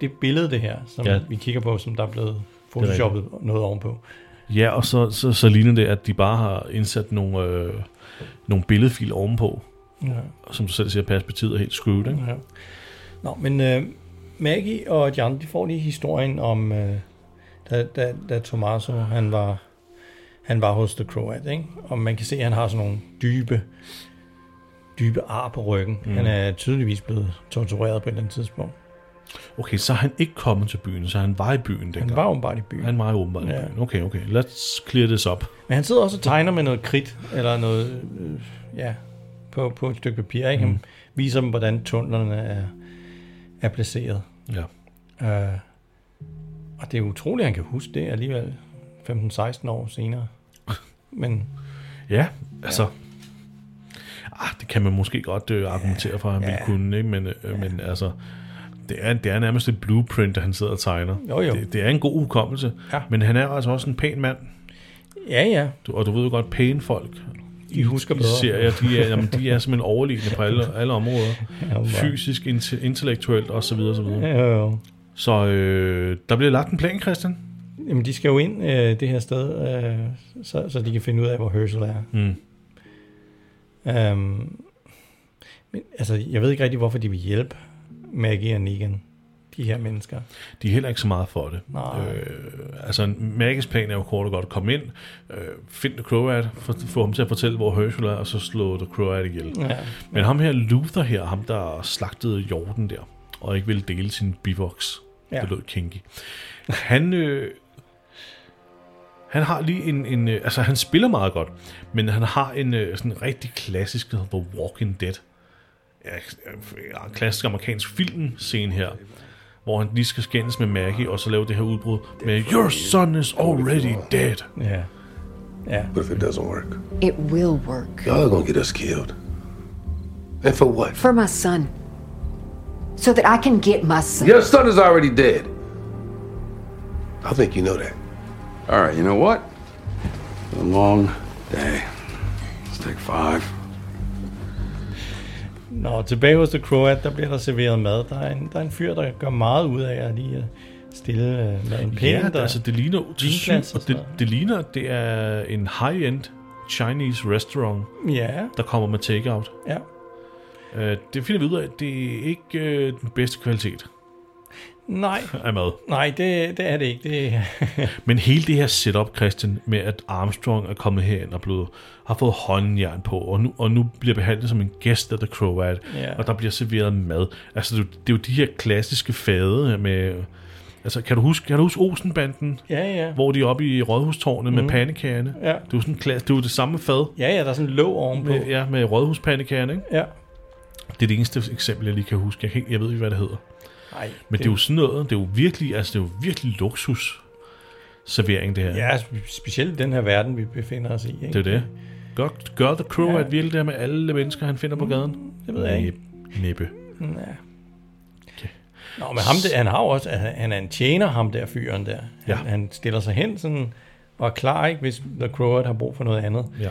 [SPEAKER 2] det billede, det her, som
[SPEAKER 1] Ja.
[SPEAKER 2] ja. vi kigger på, som der er blevet photoshoppet noget ovenpå.
[SPEAKER 1] Ja, og så, så, så ligner det, at de bare har indsat nogle, øh, nogle billedfil ovenpå.
[SPEAKER 2] Ja.
[SPEAKER 1] Og som du selv siger, perspektivet er helt screwed, ikke?
[SPEAKER 2] Ja. Nå, men øh, Maggie og Jan, de får lige historien om, øh, da, da, da Tommaso, han var, han var hos The Croat, ikke? Og man kan se, at han har sådan nogle dybe, dybe ar på ryggen. Mm. Han er tydeligvis blevet tortureret på et eller andet tidspunkt.
[SPEAKER 1] Okay, så er han ikke kommet til byen, så han var i byen dengang.
[SPEAKER 2] Han var åbenbart i byen.
[SPEAKER 1] han var åbenbart ja. i
[SPEAKER 2] Ja.
[SPEAKER 1] byen. Okay, okay, let's clear this up.
[SPEAKER 2] Men han sidder også og tegner med noget kridt, eller noget, øh, ja, på, på et stykke papir, ikke? Han viser dem, hvordan tunnelerne er, er placeret.
[SPEAKER 1] Ja.
[SPEAKER 2] Øh, og det er utroligt, at han kan huske det alligevel 15-16 år senere. Men
[SPEAKER 1] Ja, altså... Ah, det kan man måske godt øh, argumentere for, at han ja. ville kunne, ikke? Men, øh, men altså... Det er, det er nærmest et blueprint, der han sidder og tegner.
[SPEAKER 2] Jo, jo.
[SPEAKER 1] Det, det er en god ukommelse.
[SPEAKER 2] Ja.
[SPEAKER 1] Men han er altså også en pæn mand.
[SPEAKER 2] ja, ja,
[SPEAKER 1] Du, og du ved jo godt, pæne folk
[SPEAKER 2] de husker
[SPEAKER 1] i
[SPEAKER 2] bedre.
[SPEAKER 1] serier, de er, jamen, de er simpelthen overliggende på alle, alle områder. Fysisk, inte, intellektuelt osv. osv.
[SPEAKER 2] Ja,
[SPEAKER 1] Ja.
[SPEAKER 2] jo, jo.
[SPEAKER 1] Så øh, der bliver lagt en plan, Christian.
[SPEAKER 2] Jamen, de skal jo ind øh, det her sted, øh, så, så de kan finde ud af, hvor Herschel er.
[SPEAKER 1] Mm.
[SPEAKER 2] Øhm, men altså, jeg ved ikke rigtig, hvorfor de vil hjælpe Maggie og Negan, de her mennesker. Ah,
[SPEAKER 1] De er heller ikke så meget for det.
[SPEAKER 2] Nej.
[SPEAKER 1] Øh, altså, Maggies plan er jo kort og godt. Kom ind, øh, find The Croat, få, få ham til at fortælle, hvor Herschel er, og så slå The Croat ihjel.
[SPEAKER 2] Ja.
[SPEAKER 1] Men ham her, Luther her, ham der slagtede jorden der, og ikke ville dele sin bivoks. Ja.
[SPEAKER 2] Ja.
[SPEAKER 1] Det lød kinky. Han, øh, han har lige en, en... øh, Altså, han spiller meget godt, men han har en øh, sådan rigtig klassisk, der hedder The Walking Dead. Ja, øh, en klassisk amerikansk filmscene her, hvor han lige skal skændes med Maggie, og så lave det her udbrud med Your son is already dead.
[SPEAKER 2] ja. Ja.
[SPEAKER 5] What if it doesn't work?
[SPEAKER 6] It will work.
[SPEAKER 5] Y'all are gonna get us killed. And for what?
[SPEAKER 6] For my son. So that I can get my son.
[SPEAKER 5] Your son is already dead. I think you know that.
[SPEAKER 4] All right, you know what? It's been A long day. Let's take five.
[SPEAKER 2] Nå, tilbage hos The Croat, der bliver der serveret mad. Der er en, der er en fyr, der gør meget ud af at lige øh, stille øh, maden pænt.
[SPEAKER 1] Ja,
[SPEAKER 2] og-
[SPEAKER 1] der, altså det ligner til syn,
[SPEAKER 2] vinglas og
[SPEAKER 1] og
[SPEAKER 2] sådan
[SPEAKER 1] det,
[SPEAKER 2] noget.
[SPEAKER 1] det ligner, at det er en high-end Chinese restaurant,
[SPEAKER 2] Ja,
[SPEAKER 1] der kommer med takeout.
[SPEAKER 2] ja.
[SPEAKER 1] Øh, det finder vi ud af, at det er ikke øh, den bedste kvalitet
[SPEAKER 2] Nej,
[SPEAKER 1] af mad.
[SPEAKER 2] nej, det, det er det ikke. Det,
[SPEAKER 1] Men hele det her setup, Christian, med at Armstrong er kommet herind og blevet, har fået håndjern på, og nu, og nu bliver behandlet som en gæst af The Croat,
[SPEAKER 2] Ja.
[SPEAKER 1] og der bliver serveret mad. Altså, det, er jo- det er jo de her klassiske fade med... Altså, kan du huske, kan du huske Olsenbanden?
[SPEAKER 2] ja, ja.
[SPEAKER 1] Hvor de er oppe i Rådhustårnet med pandekagerne.
[SPEAKER 2] Mhm. Ja.
[SPEAKER 1] Det er jo sådan en klasse, det er jo det samme fad.
[SPEAKER 2] Ja, ja, der er sådan en låg ovenpå.
[SPEAKER 1] Med, ja, med rådhuspandekagerne, ikke?
[SPEAKER 2] Ja.
[SPEAKER 1] Det er det eneste eksempel, jeg lige kan huske. Jeg, kan ikke, jeg ved ikke, hvad det hedder.
[SPEAKER 2] Nej,
[SPEAKER 1] Men det, det er jo sådan noget, det er jo virkelig, altså det er jo virkelig luksus servering det her.
[SPEAKER 2] Ja, spe- specielt i den her verden, vi befinder os i. Ikke?
[SPEAKER 1] Det er det. Godt, gør The Crow
[SPEAKER 2] Ja. Mm.
[SPEAKER 1] ja. at virkelig der med alle mennesker, han finder på gaden?
[SPEAKER 2] det ved jeg ikke.
[SPEAKER 1] Næb- Næppe.
[SPEAKER 2] Ja. Nå, men ham der, han har jo også, han han er en tjener, ham der fyren der. Han,
[SPEAKER 1] Ja.
[SPEAKER 2] han stiller sig hen sådan, og er klar, ikke, hvis The Croat har brug for noget andet.
[SPEAKER 1] Ja.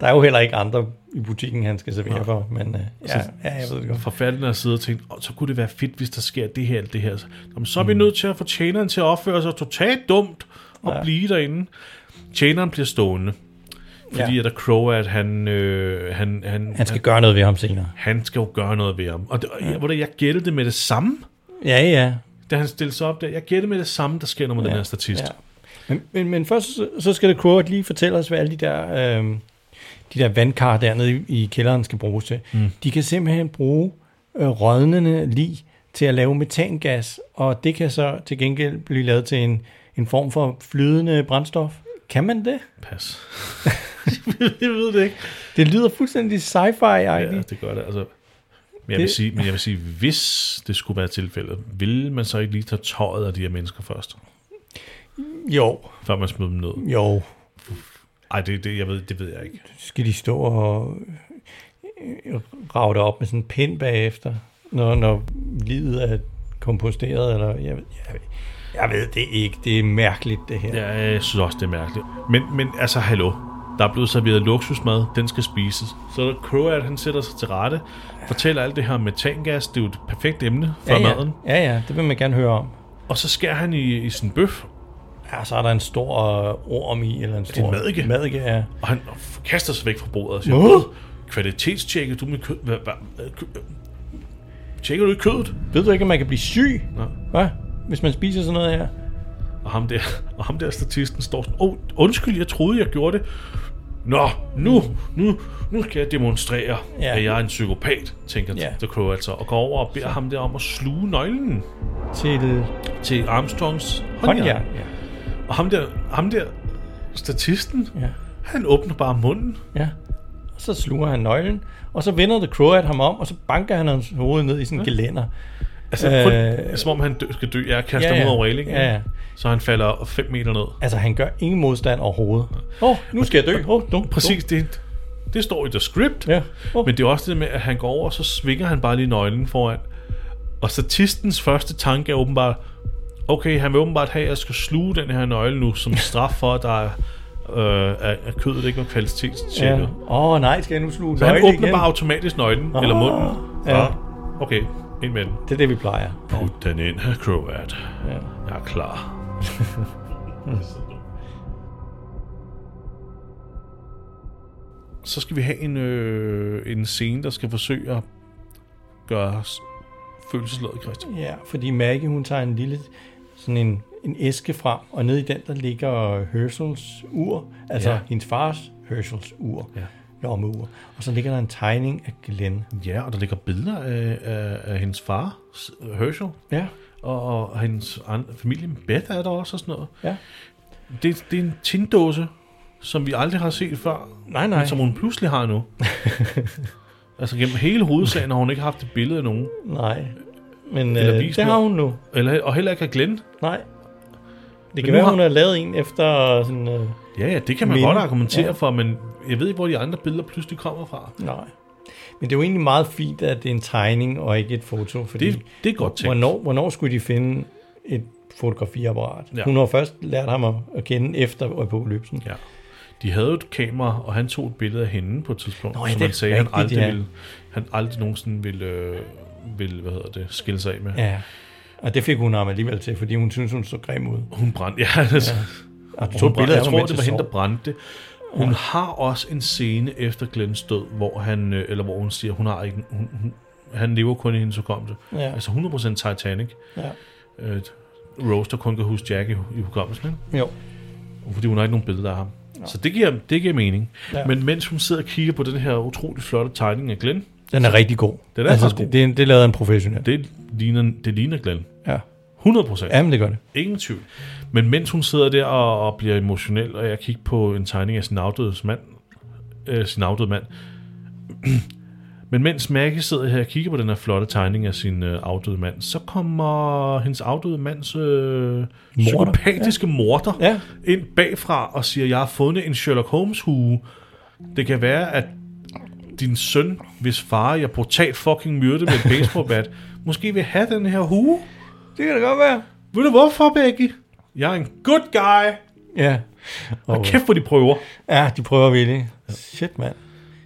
[SPEAKER 2] Der er jo heller ikke andre i butikken, han skal servere for, men øh, ja, ja, jeg ved det godt.
[SPEAKER 1] Forfatterne har siddet og tænkt, oh, så kunne det være fedt, hvis der sker det her eller det her. Jamen, så er vi nødt til at få tjeneren til at opføre sig totalt dumt og
[SPEAKER 2] Ja.
[SPEAKER 1] ja. blive derinde. Tjeneren bliver stående. Fordi
[SPEAKER 2] Ja.
[SPEAKER 1] ja. at The Crow, at han, øh, han, han,
[SPEAKER 2] Han skal gøre noget ved ham senere.
[SPEAKER 1] han skal jo gøre noget ved ham. Og det, ja. jeg, jeg gættede det med det samme,
[SPEAKER 2] Ja, ja.
[SPEAKER 1] da han stillede sig op der. Jeg gættede med det samme, der sker noget med ja. den her statist.
[SPEAKER 2] Ja. Men, men, men først så, så skal det Croat lige fortælle os, hvad alle de der, øh, de der vandkar dernede i, i kælderen skal bruges til. Mm. De kan simpelthen bruge øh, rådnende lig til at lave metangas, og det kan så til gengæld blive lavet til en, en form for flydende brændstof. Kan man det?
[SPEAKER 1] Pas. jeg ved det ikke.
[SPEAKER 2] Det lyder fuldstændig sci-fi-agtigt.
[SPEAKER 1] Ja, det gør det. Altså, men, jeg vil
[SPEAKER 2] Det-
[SPEAKER 1] sige, men jeg vil sige, hvis det skulle være tilfældet, ville man så ikke lige tage tøjet af de her mennesker først,
[SPEAKER 2] Jo,
[SPEAKER 1] før man smed dem ned?
[SPEAKER 2] jo.
[SPEAKER 1] Ej, det, det, jeg ved, det ved jeg ikke.
[SPEAKER 2] Så skal de stå og øh, rave det op med sådan en pind bagefter, når, når livet er komposteret, eller jeg, ved- jeg, ved- jeg ved det ikke. Det er mærkeligt, det her. Ja.
[SPEAKER 1] øh, Jeg, jeg synes også, det er mærkeligt. Men, men altså, hallo. Der er blevet serveret luksusmad, den skal spises. Så der Croat, han sætter sig til rette, fortæller alt det her om metangas, det er jo et perfekt emne for
[SPEAKER 2] ja,
[SPEAKER 1] ja,
[SPEAKER 2] ja.
[SPEAKER 1] maden.
[SPEAKER 2] Ja, ja, det vil man gerne høre om.
[SPEAKER 1] Og så skærer han i, i sin bøf,
[SPEAKER 2] Ja, så er der en stor øh, orm i, eller en stor...
[SPEAKER 1] en madike?
[SPEAKER 2] Madike, ja.
[SPEAKER 1] og han kaster sig væk fra bordet og siger,
[SPEAKER 2] Hvad?
[SPEAKER 1] kvalitetstjekket du med kød? Hvad, hvad, øh, kø- øh, tjekker du ikke kødet?
[SPEAKER 2] Ved du ikke, at man kan blive syg?
[SPEAKER 1] Nå.
[SPEAKER 2] Hvad? Hvis man spiser sådan noget her?
[SPEAKER 1] Og ham der, og ham der statisten står sådan, oh, undskyld, jeg troede, jeg gjorde det. Nå, nu, nu, nu skal jeg demonstrere,
[SPEAKER 2] Ja.
[SPEAKER 1] ja. at jeg er en psykopat, tænker
[SPEAKER 2] Ja.
[SPEAKER 1] ja. The Crow altså, og går over og beder ham der om at sluge nøglen
[SPEAKER 2] Til
[SPEAKER 1] til Armstrongs håndjern.
[SPEAKER 2] håndjern. Ja.
[SPEAKER 1] Og ham der, ham der statisten,
[SPEAKER 2] ja.
[SPEAKER 1] han åbner bare munden.
[SPEAKER 2] Ja. Og så sluger han nøglen, og så vender The Croat ham om, og så banker han hans hoved ned i sådan en gelænder.
[SPEAKER 1] Altså,
[SPEAKER 2] Øh.
[SPEAKER 1] øh, som om han dø, skal dø. Jeg kaster ja,
[SPEAKER 2] Ja, ja.
[SPEAKER 1] ja. ud over railingen,
[SPEAKER 2] Ja, ja.
[SPEAKER 1] så han falder 5 meter ned.
[SPEAKER 2] Altså, han gør ingen modstand overhovedet. Åh, oh, nu skal jeg dø. Åh, oh,
[SPEAKER 1] Præcis, det, det står i the script.
[SPEAKER 2] Ja. Oh.
[SPEAKER 1] Men det er også det med, at han går over, og så svinger han bare lige nøglen foran. Og statistens første tanke er åbenbart, okay, han vil åbenbart have, at jeg skal sluge den her nøgle nu, som straf for, at der er, øh, at at kødet ikke var
[SPEAKER 2] Ja.
[SPEAKER 1] kvalitetstjekket. Ja.
[SPEAKER 2] Åh, oh, nej, skal jeg nu sluge
[SPEAKER 1] Så han
[SPEAKER 2] nøglen
[SPEAKER 1] åbner
[SPEAKER 2] igen? Ah,
[SPEAKER 1] bare automatisk nøglen, eller munden.
[SPEAKER 2] Ja.
[SPEAKER 1] Ja. Okay, ind med den.
[SPEAKER 2] Det er det, vi plejer.
[SPEAKER 1] Put den ind, her, Croat.
[SPEAKER 2] Ja.
[SPEAKER 1] Jeg er klar. Så skal vi have en, øh, en scene, der skal forsøge at gøre os følelsesladet, Christian.
[SPEAKER 2] ja, fordi Maggie, hun tager en lille, sådan en, en æske frem, og nede i den, der ligger Herschels ur, altså ja.
[SPEAKER 1] Ja.
[SPEAKER 2] hendes fars Herschels ur, ja.
[SPEAKER 1] Ja.
[SPEAKER 2] lommeur. Og så ligger der en tegning af Glenn.
[SPEAKER 1] Ja, og der ligger billeder af, af, af hendes far, S- Herschel,
[SPEAKER 2] Ja.
[SPEAKER 1] og, og hendes an, familie, Beth er der også og sådan noget.
[SPEAKER 2] Ja.
[SPEAKER 1] Det, det er en tindåse, som vi aldrig har set før,
[SPEAKER 2] Nej, nej.
[SPEAKER 1] men som hun pludselig har nu. altså gennem hele hovedsagen har hun ikke haft et billede af nogen.
[SPEAKER 2] Nej. Men
[SPEAKER 1] Eller
[SPEAKER 2] øh,
[SPEAKER 1] vis
[SPEAKER 2] det
[SPEAKER 1] mig.
[SPEAKER 2] har hun nu.
[SPEAKER 1] Eller, og heller ikke har Glenn.
[SPEAKER 2] Nej. Det
[SPEAKER 1] nu
[SPEAKER 2] kan være,
[SPEAKER 1] har-
[SPEAKER 2] hun har lavet en efter sådan... Øh,
[SPEAKER 1] Ja, ja, det kan man
[SPEAKER 2] Minde.
[SPEAKER 1] godt argumentere
[SPEAKER 2] Ja.
[SPEAKER 1] for, men jeg ved ikke, hvor de andre billeder pludselig kommer fra.
[SPEAKER 2] nej. Men det er jo egentlig meget fint, at det er en tegning og ikke et foto, fordi...
[SPEAKER 1] Det, det er godt tænkt.
[SPEAKER 2] Hvornår, hvornår skulle de finde et fotografiapparat?
[SPEAKER 1] Ja.
[SPEAKER 2] Ja. Hun har først lært ham at, at kende efter apokalypsen.
[SPEAKER 1] Ja. De havde jo et kamera, og han tog et billede af hende på et tidspunkt,
[SPEAKER 2] Nå,
[SPEAKER 1] Nå,
[SPEAKER 2] ja,
[SPEAKER 1] som
[SPEAKER 2] det
[SPEAKER 1] han
[SPEAKER 2] er
[SPEAKER 1] sagde, han
[SPEAKER 2] rigtigt,
[SPEAKER 1] aldrig,
[SPEAKER 2] ja.
[SPEAKER 1] ville, han aldrig nogensinde ville, øh, ville hvad hedder det, skille sig af med. Ja.
[SPEAKER 2] ja. Og det fik hun ham alligevel til, fordi hun synes hun så grim ud.
[SPEAKER 1] Hun brændte, ja, altså, ja.
[SPEAKER 2] Og hun
[SPEAKER 1] Hun brændte,
[SPEAKER 2] billeder
[SPEAKER 1] jeg
[SPEAKER 2] af
[SPEAKER 1] tror,
[SPEAKER 2] mens
[SPEAKER 1] det var hende,
[SPEAKER 2] sov.
[SPEAKER 1] der brændte det. Hun ja. har også en scene efter Glens død, hvor, han, øh, eller hvor hun siger, hun har ikke, hun, hun, han lever kun i hendes hukommelse.
[SPEAKER 2] Ja.
[SPEAKER 1] Altså 100% Titanic.
[SPEAKER 2] Ja.
[SPEAKER 1] Øh, Rose, der kun kan huske Jack i, i hukommelsen, ikke?
[SPEAKER 2] Jo.
[SPEAKER 1] fordi hun har ikke nogen billeder af ham. Så det giver, det giver mening. Ja.
[SPEAKER 2] Ja.
[SPEAKER 1] Men mens hun sidder og kigger på den her utrolig flotte tegning af Glenn,
[SPEAKER 2] Den er rigtig god. Altså,
[SPEAKER 1] Den er faktisk god.
[SPEAKER 2] Det, det, det lavede en professionel.
[SPEAKER 1] det ligner, det ligner Glenn.
[SPEAKER 2] Ja.
[SPEAKER 1] 100 procent. Ja.
[SPEAKER 2] Jamen, det gør det.
[SPEAKER 1] Ingen tvivl. Men mens hun sidder der og, og bliver emotionel, og jeg kigger på en tegning af sin afdøde mand, øh, sin afdøde mand, men mens Maggie sidder her og kigger på den her flotte tegning af sin øh, afdøde mand, så kommer hendes afdøde mands øh, psykopatiske morter
[SPEAKER 2] Ja.
[SPEAKER 1] ind bagfra og siger, jeg har fundet en Sherlock Holmes hue. Det kan være, at din søn, hvis far jeg brutalt fucking myrdede med et baseballbat, måske vil have den her hue.
[SPEAKER 2] Det kan det godt være.
[SPEAKER 1] Ved du hvorfor, Becky? Jeg er en good guy.
[SPEAKER 2] Ja. Og,
[SPEAKER 1] Og kæft, hvor de prøver.
[SPEAKER 2] ja, de prøver virkelig. Shit, mand.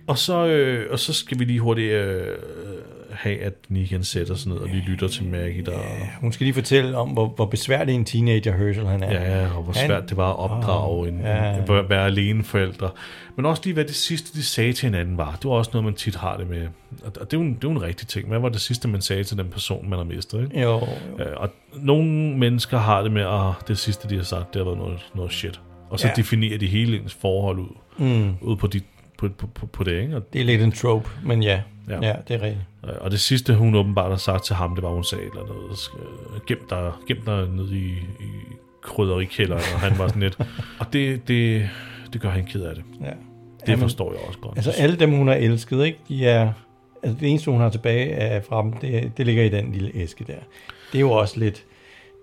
[SPEAKER 1] Og så, øh, og så skal vi lige hurtigt øh, have, at Negan sætter sig ned, og lige lytter til Maggie, der...
[SPEAKER 2] Hun skal lige fortælle om, hvor, hvor besværlig en teenager Herschel han er.
[SPEAKER 1] Ja, ja, og hvor
[SPEAKER 2] Han-
[SPEAKER 1] svært det var at opdrage en, Ah, ja. en at være alene forældre. Men også lige, hvad det sidste, de sagde til hinanden var. Det var også noget, man tit har det med. Og og det er jo en, det er jo en rigtig ting. Hvad var det sidste, man sagde til den person, man har mistet? Ikke?
[SPEAKER 2] Jo,
[SPEAKER 1] Øh, Og nogle mennesker har det med, at det sidste, de har sagt, det har været noget, noget shit. Og så ja.
[SPEAKER 2] Ja.
[SPEAKER 1] definerer de hele ens forhold ud, mm. ud på, de, på, på, på, på det. Ikke? Og,
[SPEAKER 2] det er lidt en trope, men ja.
[SPEAKER 1] Ja.
[SPEAKER 2] Ja, ja det er rigtigt.
[SPEAKER 1] og det sidste, hun åbenbart har sagt til ham, det var, hun sagde et eller noget. øh, Gem dig, gem dig nede i, i krydderikælderen, og han var sådan lidt. Og det, det, det gør han ked af det.
[SPEAKER 2] Ja.
[SPEAKER 1] Det forstår jeg også godt.
[SPEAKER 2] Altså alle dem, hun har elsket, ikke? De er, altså det eneste, hun har tilbage af fra dem, det, det ligger i den lille æske der. Det er jo også lidt,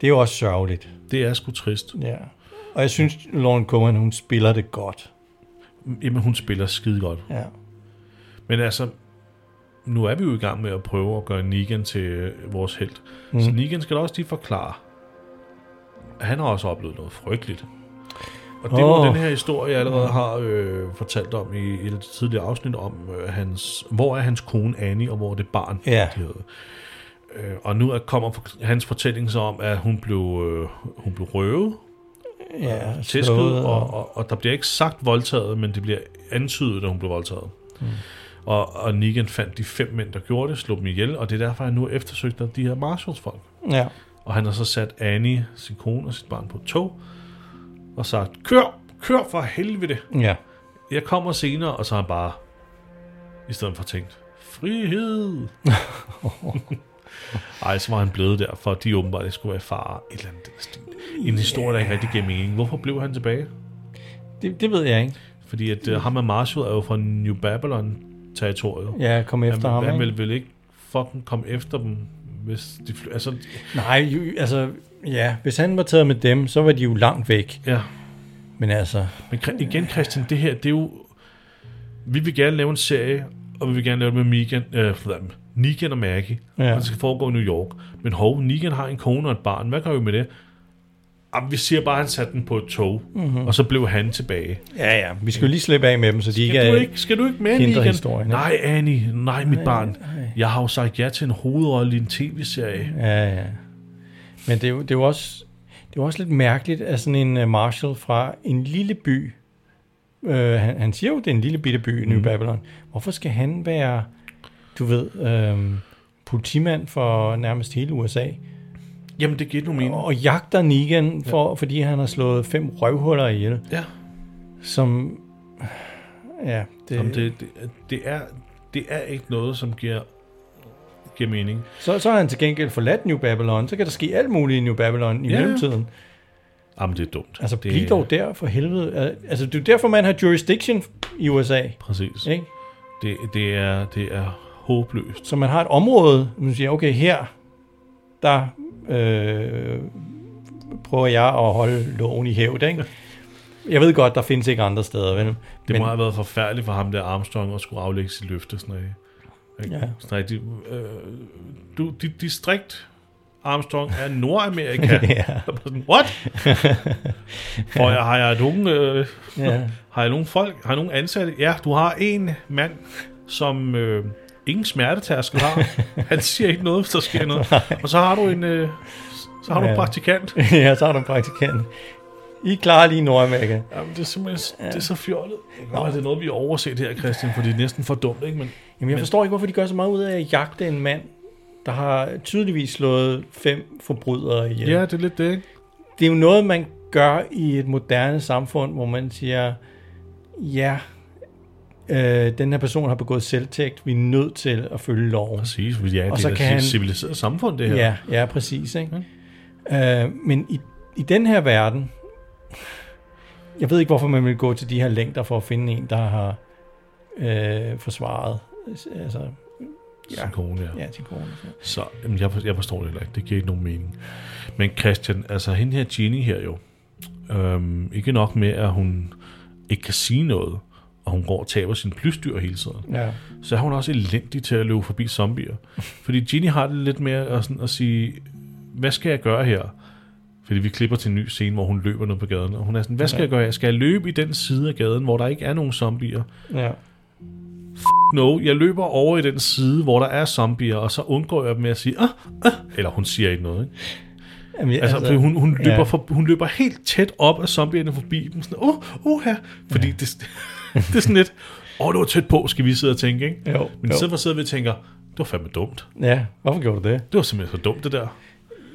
[SPEAKER 2] det er jo også sørgeligt.
[SPEAKER 1] det er sgu trist.
[SPEAKER 2] Ja. Og jeg synes, Lauren Cohen, hun spiller det godt.
[SPEAKER 1] Jamen, hun spiller skide godt.
[SPEAKER 2] Ja.
[SPEAKER 1] Men altså, nu er vi jo i gang med at prøve at gøre Negan til øh, vores held.
[SPEAKER 2] Mhm.
[SPEAKER 1] Mm. Så Negan skal da også lige forklare, at han har også oplevet noget frygteligt. Og det oh.
[SPEAKER 2] Åh.
[SPEAKER 1] den her historie, jeg allerede har øh, fortalt om i et af de tidligere afsnit, om øh, hans, hvor er hans kone Annie, og hvor er det barn,
[SPEAKER 2] Ja.
[SPEAKER 1] de havde. Øh, og nu er, kommer for- hans fortælling så om, at hun blev, øh, hun blev røvet,
[SPEAKER 2] Ja,
[SPEAKER 1] tæsket,
[SPEAKER 2] slået
[SPEAKER 1] og, og, og der bliver ikke sagt voldtaget, men det bliver antydet, at hun blev voldtaget. Mm. Og, og Negan fandt de fem mænd, der gjorde det, slog dem ihjel, og det er derfor, han nu er eftersøgt af de her Marshalls-folk.
[SPEAKER 2] Ja.
[SPEAKER 1] Og han har så sat Annie, sin kone og sit barn på et tog, og sagt, kør, kør for helvede,
[SPEAKER 2] Ja.
[SPEAKER 1] jeg kommer senere, og så har han bare, i stedet for tænkt, frihed. Ej, så var han blevet der, for de åbenbart ikke skulle være i fare. Et eller andet. En historie, der ikke rigtig giver mening. Hvorfor blev han tilbage?
[SPEAKER 2] Det, det ved jeg ikke.
[SPEAKER 1] Fordi at uh, ham og Marshall er jo fra New Babylon-territoriet.
[SPEAKER 2] Ja, jeg kom efter
[SPEAKER 1] han,
[SPEAKER 2] ham.
[SPEAKER 1] han
[SPEAKER 2] ikke?
[SPEAKER 1] vil vel ikke fucking komme efter dem, hvis de fly- Altså,
[SPEAKER 2] Nej, jo, altså, ja, hvis han var taget med dem, så var de jo langt væk.
[SPEAKER 1] ja.
[SPEAKER 2] Men altså,
[SPEAKER 1] Men Chri- igen, Christian, det her, det er jo... Vi vil gerne lave en serie, og vi vil gerne lave det med Megan, øh, for dem. Negan og Maggie,
[SPEAKER 2] Ja.
[SPEAKER 1] og det skal foregå i New York. Men hov, Negan har en kone og et barn. Hvad gør vi med det? Jamen, vi siger bare, at han satte den på et tog,
[SPEAKER 2] Mhm.
[SPEAKER 1] mm-hmm. og så blev han tilbage.
[SPEAKER 2] ja, ja, vi skal jo lige slippe af med dem, så de ikke
[SPEAKER 1] Skal du
[SPEAKER 2] er...
[SPEAKER 1] ikke, skal du ikke med,
[SPEAKER 2] hindre
[SPEAKER 1] Negan?
[SPEAKER 2] historien, ikke?
[SPEAKER 1] Nej, Annie. Nej, mit barn. Jeg har jo sagt ja til en hovedrolle i en tv-serie.
[SPEAKER 2] Ja, ja. Men det er jo, det er jo også, det er jo også lidt mærkeligt, at sådan en øh, Marshall fra en lille by, øh, han, han siger jo, det er en lille bitte by,
[SPEAKER 1] Mm.
[SPEAKER 2] New Babylon. Hvorfor skal han være, du ved, øh, politimand for nærmest hele USA,
[SPEAKER 1] Jamen, det giver ikke nogen mening.
[SPEAKER 2] og jagter Negan, for, ja. fordi han har slået fem røvhuller ihjel,
[SPEAKER 1] Ja.
[SPEAKER 2] som... Ja, det,
[SPEAKER 1] Jamen, det, det, det, er, det er ikke noget, som giver, giver mening.
[SPEAKER 2] Så, så har han til gengæld forladt New Babylon, så kan der ske alt muligt i New Babylon i
[SPEAKER 1] Ja, ja.
[SPEAKER 2] ja. mellemtiden.
[SPEAKER 1] Jamen, det er dumt.
[SPEAKER 2] Altså, det...
[SPEAKER 1] det,
[SPEAKER 2] bliv dog der for helvede. Al- Altså, det er jo derfor, man har jurisdiction i USA,
[SPEAKER 1] Præcis.
[SPEAKER 2] ikke?
[SPEAKER 1] Det, det, er, det er håbløst.
[SPEAKER 2] Så man har et område, hvor man siger, okay, her, der øh, prøver jeg at holde loven i hævd, ikke? Jeg ved godt, der findes ikke andre steder, vel?
[SPEAKER 1] Det
[SPEAKER 2] Men-
[SPEAKER 1] må have været forfærdeligt for ham der Armstrong at skulle aflægge sit løfte. Sådan noget. Ikke?
[SPEAKER 2] Ja.
[SPEAKER 1] Sådan noget, de, øh, du, dit distrikt Armstrong er Nordamerika.
[SPEAKER 2] Ja.
[SPEAKER 1] Jeg var sådan, What? For jeg har jeg nogen, øh,
[SPEAKER 2] Ja.
[SPEAKER 1] har jeg nogen folk, har jeg nogen ansatte? Ja, du har en mand, som øh, ingen smertetærskel har. Han siger ikke noget, hvis der sker noget. Og så har du en, øh, så har du en
[SPEAKER 2] Ja.
[SPEAKER 1] praktikant.
[SPEAKER 2] ja, så har du en praktikant. I klarer lige Nordamerika.
[SPEAKER 1] Jamen, det er simpelthen det er så fjollet. Nå, det er noget, vi har overset her, Christian, for det er næsten for dumt, ikke? Men
[SPEAKER 2] Jamen, jeg forstår ikke, hvorfor de gør så meget ud af at jagte en mand, der har tydeligvis slået fem forbrydere ihjel.
[SPEAKER 1] ja, det er lidt det, ikke?
[SPEAKER 2] det er jo noget, man gør i et moderne samfund, hvor man siger, ja, øh, den her person har begået selvtægt, vi er nødt til at følge loven.
[SPEAKER 1] Præcis, fordi ja, og det
[SPEAKER 2] så
[SPEAKER 1] er
[SPEAKER 2] kan
[SPEAKER 1] kan
[SPEAKER 2] han-
[SPEAKER 1] et civiliseret samfund, det her.
[SPEAKER 2] Ja, ja præcis. Ikke? Øh, men i, i den her verden, jeg ved ikke, hvorfor man vil gå til de her længder for at finde en, der har øh, forsvaret altså,
[SPEAKER 1] Sin kone, ja.
[SPEAKER 2] ja, sin kone.
[SPEAKER 1] Så jamen, jeg, for- jeg forstår det heller ikke. Det giver ikke nogen mening. Men Christian, altså hende her Ginny her jo, øhm, ikke nok med, at hun ikke kan sige noget, og hun går og taber sin plysdyr hele tiden,
[SPEAKER 2] Ja.
[SPEAKER 1] så er hun også elendig til at løbe forbi zombier. Fordi Ginny har det lidt mere at, sådan, at sige, hvad skal jeg gøre her? Fordi vi klipper til en ny scene, hvor hun løber ned på gaden, og hun er sådan, hvad skal jeg gøre her? Skal jeg løbe i den side af gaden, hvor der ikke er nogen zombier?
[SPEAKER 2] ja.
[SPEAKER 1] no, jeg løber over i den side, hvor der er zombier, og så undgår jeg dem med at sige, ah, ah, eller hun siger ikke noget. Ikke?
[SPEAKER 2] Jamen,
[SPEAKER 1] Altså, altså, hun, hun, løber
[SPEAKER 2] ja.
[SPEAKER 1] for, hun løber helt tæt op af zombierne forbi dem, sådan, oh, oh her, fordi ja. det, det er sådan lidt, åh, oh, det var tæt på, skal vi sidde og tænke, ikke?
[SPEAKER 2] Jo,
[SPEAKER 1] Men i
[SPEAKER 2] jo.
[SPEAKER 1] stedet for sidder vi og tænker, det var fandme dumt.
[SPEAKER 2] Ja, hvorfor gjorde du det?
[SPEAKER 1] Det var simpelthen så dumt, det der.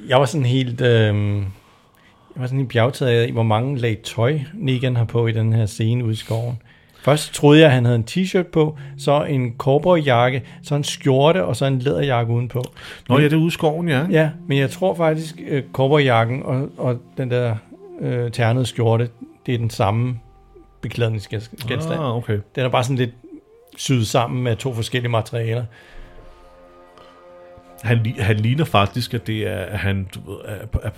[SPEAKER 2] Jeg var sådan helt... Øh, jeg var sådan helt bjergtaget af, hvor mange lag tøj Negan har på i den her scene ude i skoven. Først troede jeg, at han havde en t-shirt på, så en cowboyjakke, så en skjorte og så en læderjakke udenpå.
[SPEAKER 1] Nå ja, det er ude i skoven, ja.
[SPEAKER 2] Ja, men jeg tror faktisk, at cowboyjakken og, og den der øh, ternede skjorte, det er den samme beklædningsgenstand.
[SPEAKER 1] ah, okay.
[SPEAKER 2] Den er bare sådan lidt syet sammen med to forskellige materialer.
[SPEAKER 1] Han, li- han ligner faktisk, at det er, at han du ved, er, er,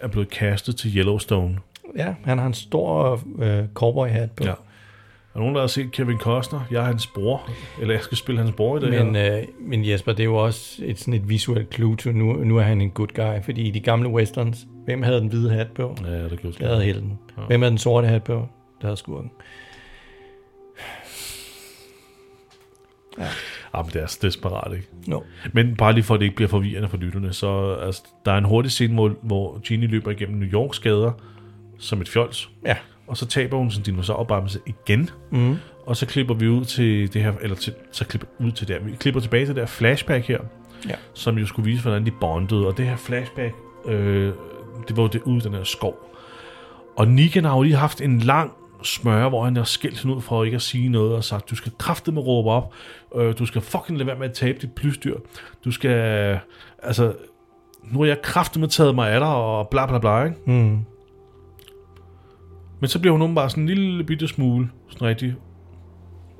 [SPEAKER 1] er blevet kastet til Yellowstone.
[SPEAKER 2] Ja, han har en stor øh, cowboyhat på.
[SPEAKER 1] Ja. Er der nogen, der har set Kevin Costner? Jeg er hans bror. Eller jeg skal spille hans bror i dag.
[SPEAKER 2] Men,
[SPEAKER 1] eller?
[SPEAKER 2] øh, men Jesper, det er jo også et, sådan et visuelt clue til, nu, nu er han en good guy. Fordi i de gamle westerns, hvem havde den hvide hat på?
[SPEAKER 1] øh, ja, det kan jeg
[SPEAKER 2] Det
[SPEAKER 1] huske.
[SPEAKER 2] havde helten. Hvem havde den sorte hat på? Det havde skurken.
[SPEAKER 1] Ah, men det er så desperat, ikke?
[SPEAKER 2] No.
[SPEAKER 1] Men bare lige for, at det ikke bliver forvirrende for lytterne, så altså, der er en hurtig scene, hvor, hvor Ginny løber igennem New Yorks gader som et fjols.
[SPEAKER 2] Ja.
[SPEAKER 1] Og så taber hun sin dinosaurbremse igen. Mm. Og så klipper vi ud til det her, eller til, så klipper ud til der. Vi klipper tilbage til det her flashback her,
[SPEAKER 2] Ja.
[SPEAKER 1] som jo skulle vise, hvordan de bondede. Og det her flashback, øh, det var jo det ude i den her skov. Og Negan har jo lige haft en lang smøre, hvor han har skældt hende ud for ikke at sige noget, og sagt, du skal kraftedeme råbe op, øh, du skal fucking lade være med at tabe dit plysdyr, du skal, altså, nu har jeg kraftedeme taget mig af dig, og bla bla bla, ikke? Mm. Men så bliver hun bare sådan en lille bitte smule, sådan rigtig,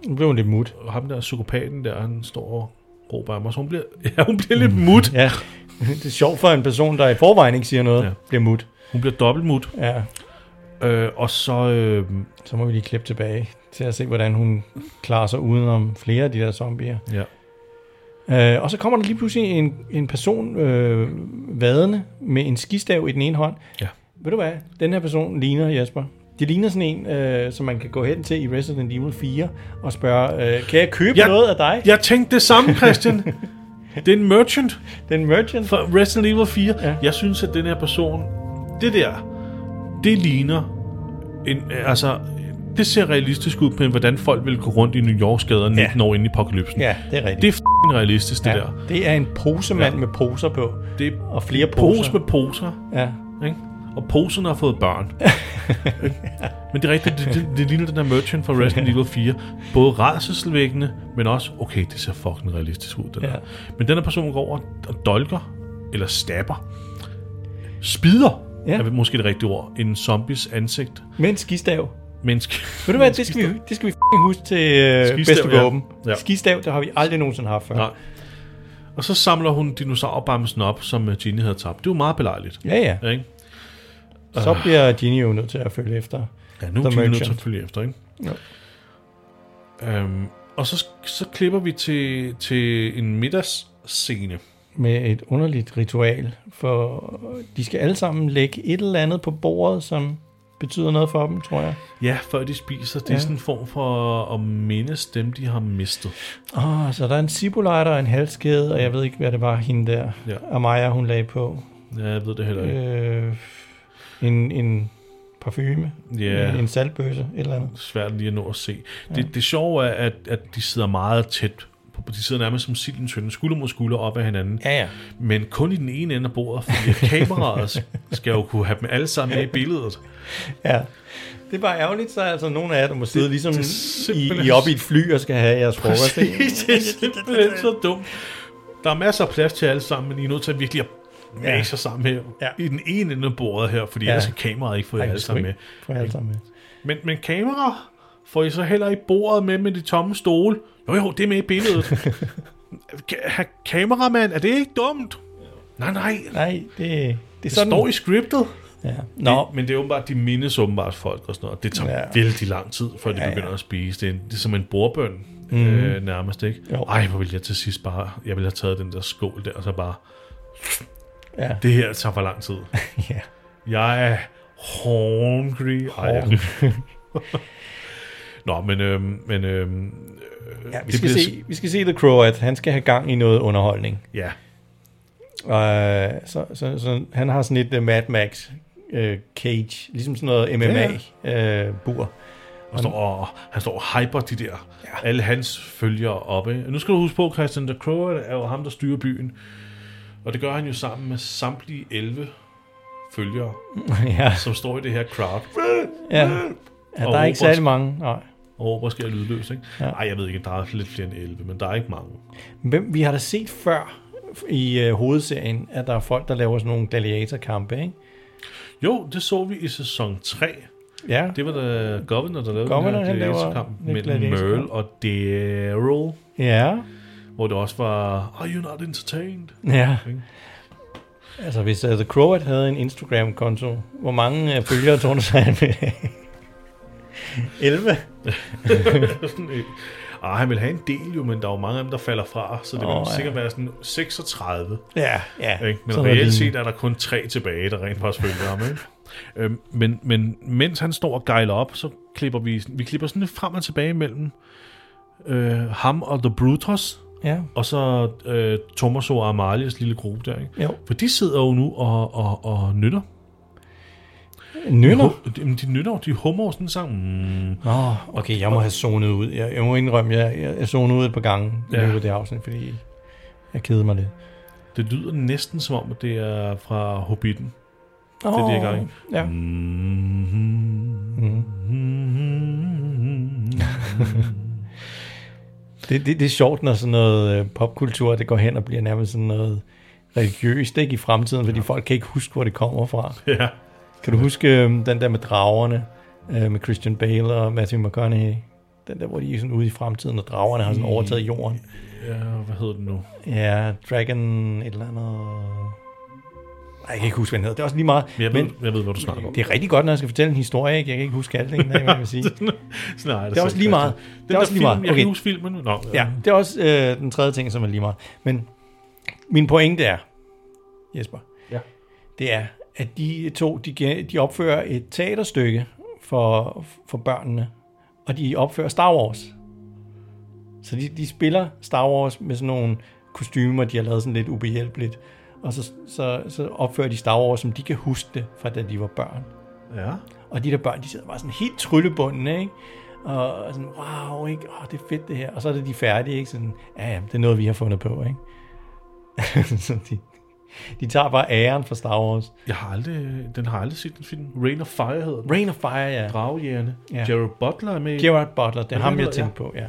[SPEAKER 2] Nu blev hun lidt mut.
[SPEAKER 1] og ham der psykopaten der, han står og råber af mig, så hun bliver, ja, hun bliver lidt mut.
[SPEAKER 2] Ja. det er sjovt for en person, der i forvejen ikke siger noget,
[SPEAKER 1] Ja.
[SPEAKER 2] ja. bliver mut.
[SPEAKER 1] Hun bliver dobbelt mut,
[SPEAKER 2] Ja.
[SPEAKER 1] øh, og så, øh,
[SPEAKER 2] Så må vi lige klippe tilbage til at se, hvordan hun klarer sig udenom flere af de der zombier.
[SPEAKER 1] ja,
[SPEAKER 2] Øh, og så kommer der lige pludselig en, en person øh, vadende med en skistav i den ene hånd.
[SPEAKER 1] Ja.
[SPEAKER 2] Ved du hvad? Den her person ligner Jesper. Det ligner sådan en, øh, som man kan gå hen til i Resident Evil 4 og spørge, øh, kan jeg købe
[SPEAKER 1] Ja.
[SPEAKER 2] ja. noget af dig?
[SPEAKER 1] jeg tænkte det samme, Christian. Det er en merchant.
[SPEAKER 2] Den merchant.
[SPEAKER 1] fra Resident Evil 4. Ja.
[SPEAKER 2] Ja.
[SPEAKER 1] Jeg synes, at den her person, det der, det ligner en, altså, det ser realistisk ud på, hvordan folk ville gå rundt i New Yorks gader 19 år inde i apokalypsen.
[SPEAKER 2] Ja, det er rigtigt.
[SPEAKER 1] Det er f***ing realistisk, det
[SPEAKER 2] ja.
[SPEAKER 1] der.
[SPEAKER 2] det er en posemand
[SPEAKER 1] Ja.
[SPEAKER 2] ja. med poser på.
[SPEAKER 1] Det er
[SPEAKER 2] Og flere poser.
[SPEAKER 1] pose med poser,
[SPEAKER 2] Ja.
[SPEAKER 1] ikke? Og poserne har fået børn. Ikke? men det er rigtigt, det, det, det ligner den der merchant fra Resident Evil 4. Både rædselsvækkende, men også, okay, det ser fucking realistisk ud, den ja.
[SPEAKER 2] Ja.
[SPEAKER 1] der. Men den her person går over og dolker, eller stabber, spider, ja.
[SPEAKER 2] Ja.
[SPEAKER 1] er måske det rigtige ord, en zombies ansigt.
[SPEAKER 2] Med en skistav.
[SPEAKER 1] Menneske.
[SPEAKER 2] Ved du hvad, det skal vi, det skal vi f***ing huske til øh,
[SPEAKER 1] Skistav,
[SPEAKER 2] bedste
[SPEAKER 1] ja.
[SPEAKER 2] våben.
[SPEAKER 1] Ja.
[SPEAKER 2] Skistav, det har vi aldrig nogensinde haft før.
[SPEAKER 1] Nej. Og så samler hun dinosaurbamsen op, som øh, Ginny havde tabt. Det er jo meget belejligt.
[SPEAKER 2] Ja, ja.
[SPEAKER 1] Ikke?
[SPEAKER 2] Så bliver Ginny jo nødt til at følge efter.
[SPEAKER 1] Ja, nu er
[SPEAKER 2] The
[SPEAKER 1] de nødt til
[SPEAKER 2] Merchant.
[SPEAKER 1] at følge efter, ikke?
[SPEAKER 2] Jo.
[SPEAKER 1] Øhm, og så, så klipper vi til, til en middagsscene.
[SPEAKER 2] med et underligt ritual, for de skal alle sammen lægge et eller andet på bordet, som betyder noget for dem, tror jeg.
[SPEAKER 1] Ja, før de spiser. Det er
[SPEAKER 2] Ja.
[SPEAKER 1] sådan en form for at mindes dem, de har mistet.
[SPEAKER 2] Åh,
[SPEAKER 1] Ah.
[SPEAKER 2] oh, så der er en cibulejder og en halskæde, og jeg ved ikke, hvad det var, hende der,
[SPEAKER 1] Ja.
[SPEAKER 2] Amaya, hun lagde på.
[SPEAKER 1] Ja, jeg ved det heller ikke.
[SPEAKER 2] Øh, en, en parfume,
[SPEAKER 1] Ja.
[SPEAKER 2] en, en saltbøsse, et eller andet.
[SPEAKER 1] Svært lige at nå at se. Det, det sjove er, at, at de sidder meget tæt. på- De sidder nærmest som silden tynde, skulder mod skulder op ad hinanden.
[SPEAKER 2] Ja, ja.
[SPEAKER 1] Men kun i den ene ende af bordet, fordi kameraet skal jo kunne have dem alle sammen med i billedet.
[SPEAKER 2] Ja. Det er bare ærgerligt, så er altså nogle af jer, der må sidde ligesom
[SPEAKER 1] det er
[SPEAKER 2] i,
[SPEAKER 1] simpelthen-
[SPEAKER 2] i op i et fly og skal have jeres frokost. ikke?
[SPEAKER 1] Præcis, det er simpelthen så dumt. Der er masser af plads til alle sammen, men I er nødt til at virkelig at
[SPEAKER 2] Ja.
[SPEAKER 1] mase sig sammen her.
[SPEAKER 2] Ja.
[SPEAKER 1] I den ene ende af bordet her, fordi
[SPEAKER 2] Ja.
[SPEAKER 1] ja. ellers kan kameraet ikke få jer
[SPEAKER 2] Ej,
[SPEAKER 1] alle sammen med.
[SPEAKER 2] Får jeg alle sammen med.
[SPEAKER 1] Men, men kamera får I så heller i bordet med med de tomme stole. Jo jo, det er med i billedet. Ka- ha- Kameramand, er det ikke dumt? Nej, nej. Det
[SPEAKER 2] Nej, det, det er sådan.
[SPEAKER 1] står i scriptet.
[SPEAKER 2] ja. Nå,
[SPEAKER 1] Men det er åbenbart, de mindes åbenbart folk og sådan noget. Det tager
[SPEAKER 2] Ja.
[SPEAKER 1] ja. vældig lang tid, før de
[SPEAKER 2] Ja,
[SPEAKER 1] ja,
[SPEAKER 2] ja.
[SPEAKER 1] begynder at spise. Det er, det er som en bordbøn mm. øh, nærmest, ikke?
[SPEAKER 2] Jo.
[SPEAKER 1] Jo. Ej, hvor ville jeg til sidst bare... Jeg ville have taget den der skål der, og så bare...
[SPEAKER 2] Ja.
[SPEAKER 1] Det her tager for lang tid.
[SPEAKER 2] ja.
[SPEAKER 1] Jeg er hungry. Ej, jeg... Nå, men... Øh, men øh,
[SPEAKER 2] Ja, vi,
[SPEAKER 1] Det
[SPEAKER 2] skal
[SPEAKER 1] bliver
[SPEAKER 2] se, vi skal se The Crow, at han skal have gang i noget underholdning.
[SPEAKER 1] ja,
[SPEAKER 2] Og, øh, så, så, så han har sådan et uh, Mad Max uh, cage, ligesom sådan noget MMA-bur.
[SPEAKER 1] han står, og, han står og hyper de der... Ja. Alle hans følgere oppe. ikke? Nu skal du huske på, Christian de Crowe er jo ham, der styrer byen. Og det gør han jo sammen med samtlige 11 følgere.
[SPEAKER 2] ja,
[SPEAKER 1] som står i det her crowd
[SPEAKER 2] ja. ja, der er ikke
[SPEAKER 1] Robert.
[SPEAKER 2] særlig mange. Nej.
[SPEAKER 1] og råber skal jeg lydløs, ikke?
[SPEAKER 2] Ja.
[SPEAKER 1] Ja. Ej, jeg ved ikke, der er lidt flere end 11, men der er ikke mange.
[SPEAKER 2] Hvem, vi har da set før i uh, hovedserien, at der er folk, der laver sådan nogle gladiatorkampe, ikke?
[SPEAKER 1] Jo, det så vi i sæson 3.
[SPEAKER 2] Ja,
[SPEAKER 1] Det var da Governor, der lavede
[SPEAKER 2] Governor,
[SPEAKER 1] den
[SPEAKER 2] han
[SPEAKER 1] her
[SPEAKER 2] laver
[SPEAKER 1] gladiatorkamp
[SPEAKER 2] en
[SPEAKER 1] mellem
[SPEAKER 2] gladiatorkamp.
[SPEAKER 1] Merle og Daryl,
[SPEAKER 2] ja,
[SPEAKER 1] hvor det også var, are you not entertained?
[SPEAKER 2] ja.
[SPEAKER 1] Ikke?
[SPEAKER 2] Altså, hvis uh, The Crow havde en Instagram-konto, hvor mange uh, følgere tror du så han ville have? 11?
[SPEAKER 1] Sådan, øh, Ej, han vil have en del jo, men der er jo mange af dem, der falder fra, så det
[SPEAKER 2] Åh,
[SPEAKER 1] oh, vil
[SPEAKER 2] ja.
[SPEAKER 1] sikkert være sådan 36.
[SPEAKER 2] Ja, ja.
[SPEAKER 1] Ikke? Men
[SPEAKER 2] Sådan er
[SPEAKER 1] reelt
[SPEAKER 2] det.
[SPEAKER 1] set er der kun tre tilbage, der rent faktisk følger ham. Ikke? Øhm, men, men mens han står og gejler op, så klipper vi, vi klipper sådan lidt frem og tilbage mellem øh, ham og The Brutus,
[SPEAKER 2] Ja,
[SPEAKER 1] og så øh, Thomas og Amalias lille gruppe der. Ikke?
[SPEAKER 2] jo.
[SPEAKER 1] For de sidder jo nu og, og, og nytter.
[SPEAKER 2] Nynner?
[SPEAKER 1] Hu- Jamen, de nytter jo, de hummer jo sådan sammen. Mm.
[SPEAKER 2] Nå, okay, jeg må have zonet ud. Jeg, jeg må indrømme, jeg, jeg, jeg zonede ud et par gange i
[SPEAKER 1] Ja.
[SPEAKER 2] løbet af det afsnit, fordi jeg kedede mig lidt.
[SPEAKER 1] Det lyder næsten som om, at det er fra Hobbiten.
[SPEAKER 2] Oh,
[SPEAKER 1] det, jeg Mm-hmm. er i gang i.
[SPEAKER 2] Ja. Det, det, det er sjovt, når sådan noget øh, popkultur, det går hen og bliver nærmest sådan noget religiøst, ikke i fremtiden, fordi folk kan ikke huske, hvor det kommer fra.
[SPEAKER 1] Ja.
[SPEAKER 2] Kan du huske øh, den der med dragerne, øh, med Christian Bale og Matthew McConaughey? Den der, hvor de er sådan ude i fremtiden, og dragerne har sådan overtaget jorden.
[SPEAKER 1] ja, Øh, hvad hedder det nu?
[SPEAKER 2] Ja, Dragon et eller andet... Ej, jeg kan ikke huske, hvad den hedder. Det er også lige meget.
[SPEAKER 1] Men jeg, ved, men, jeg ved, hvad du snakker om.
[SPEAKER 2] det er rigtig godt, når jeg skal fortælle en historie, ikke? Jeg kan ikke huske alt, ikke? Hvad jeg vil sige.
[SPEAKER 1] Nej, det,
[SPEAKER 2] Det er også lige meget.
[SPEAKER 1] Den
[SPEAKER 2] Det er også lige meget.
[SPEAKER 1] film, jeg
[SPEAKER 2] Okay.
[SPEAKER 1] kan huske filmen. Nå,
[SPEAKER 2] Ja, det er også øh, den tredje ting, som er lige meget. Men min pointe er, Jesper,
[SPEAKER 1] Ja.
[SPEAKER 2] det er, at de to, de, gen- de opfører et teaterstykke for, for børnene, og de opfører Star Wars. Så de, de spiller Star Wars med sådan nogle kostymer, de har lavet sådan lidt ubehjælpeligt, og så, så, så opfører de Star Wars, som de kan huske det, fra da de var børn.
[SPEAKER 1] ja.
[SPEAKER 2] Og de der børn, de sidder bare sådan helt tryllebundne, ikke? Og og sådan, wow, ikke? Åh, det er fedt det her. Og så er det de færdige, ikke? Sådan, ja, ja, det er noget, vi har fundet på, ikke? så de, de tager bare æren for Star Wars.
[SPEAKER 1] Jeg har aldrig, den har aldrig set den film. Rain of Fire hedder den.
[SPEAKER 2] Rain of Fire, ja.
[SPEAKER 1] Dragjægerne.
[SPEAKER 2] Ja.
[SPEAKER 1] Ja. Gerard Butler er med. i-
[SPEAKER 2] Gerard Butler, det er
[SPEAKER 1] det
[SPEAKER 2] ham, jeg
[SPEAKER 1] hedder, ja.
[SPEAKER 2] tænkte på, ja.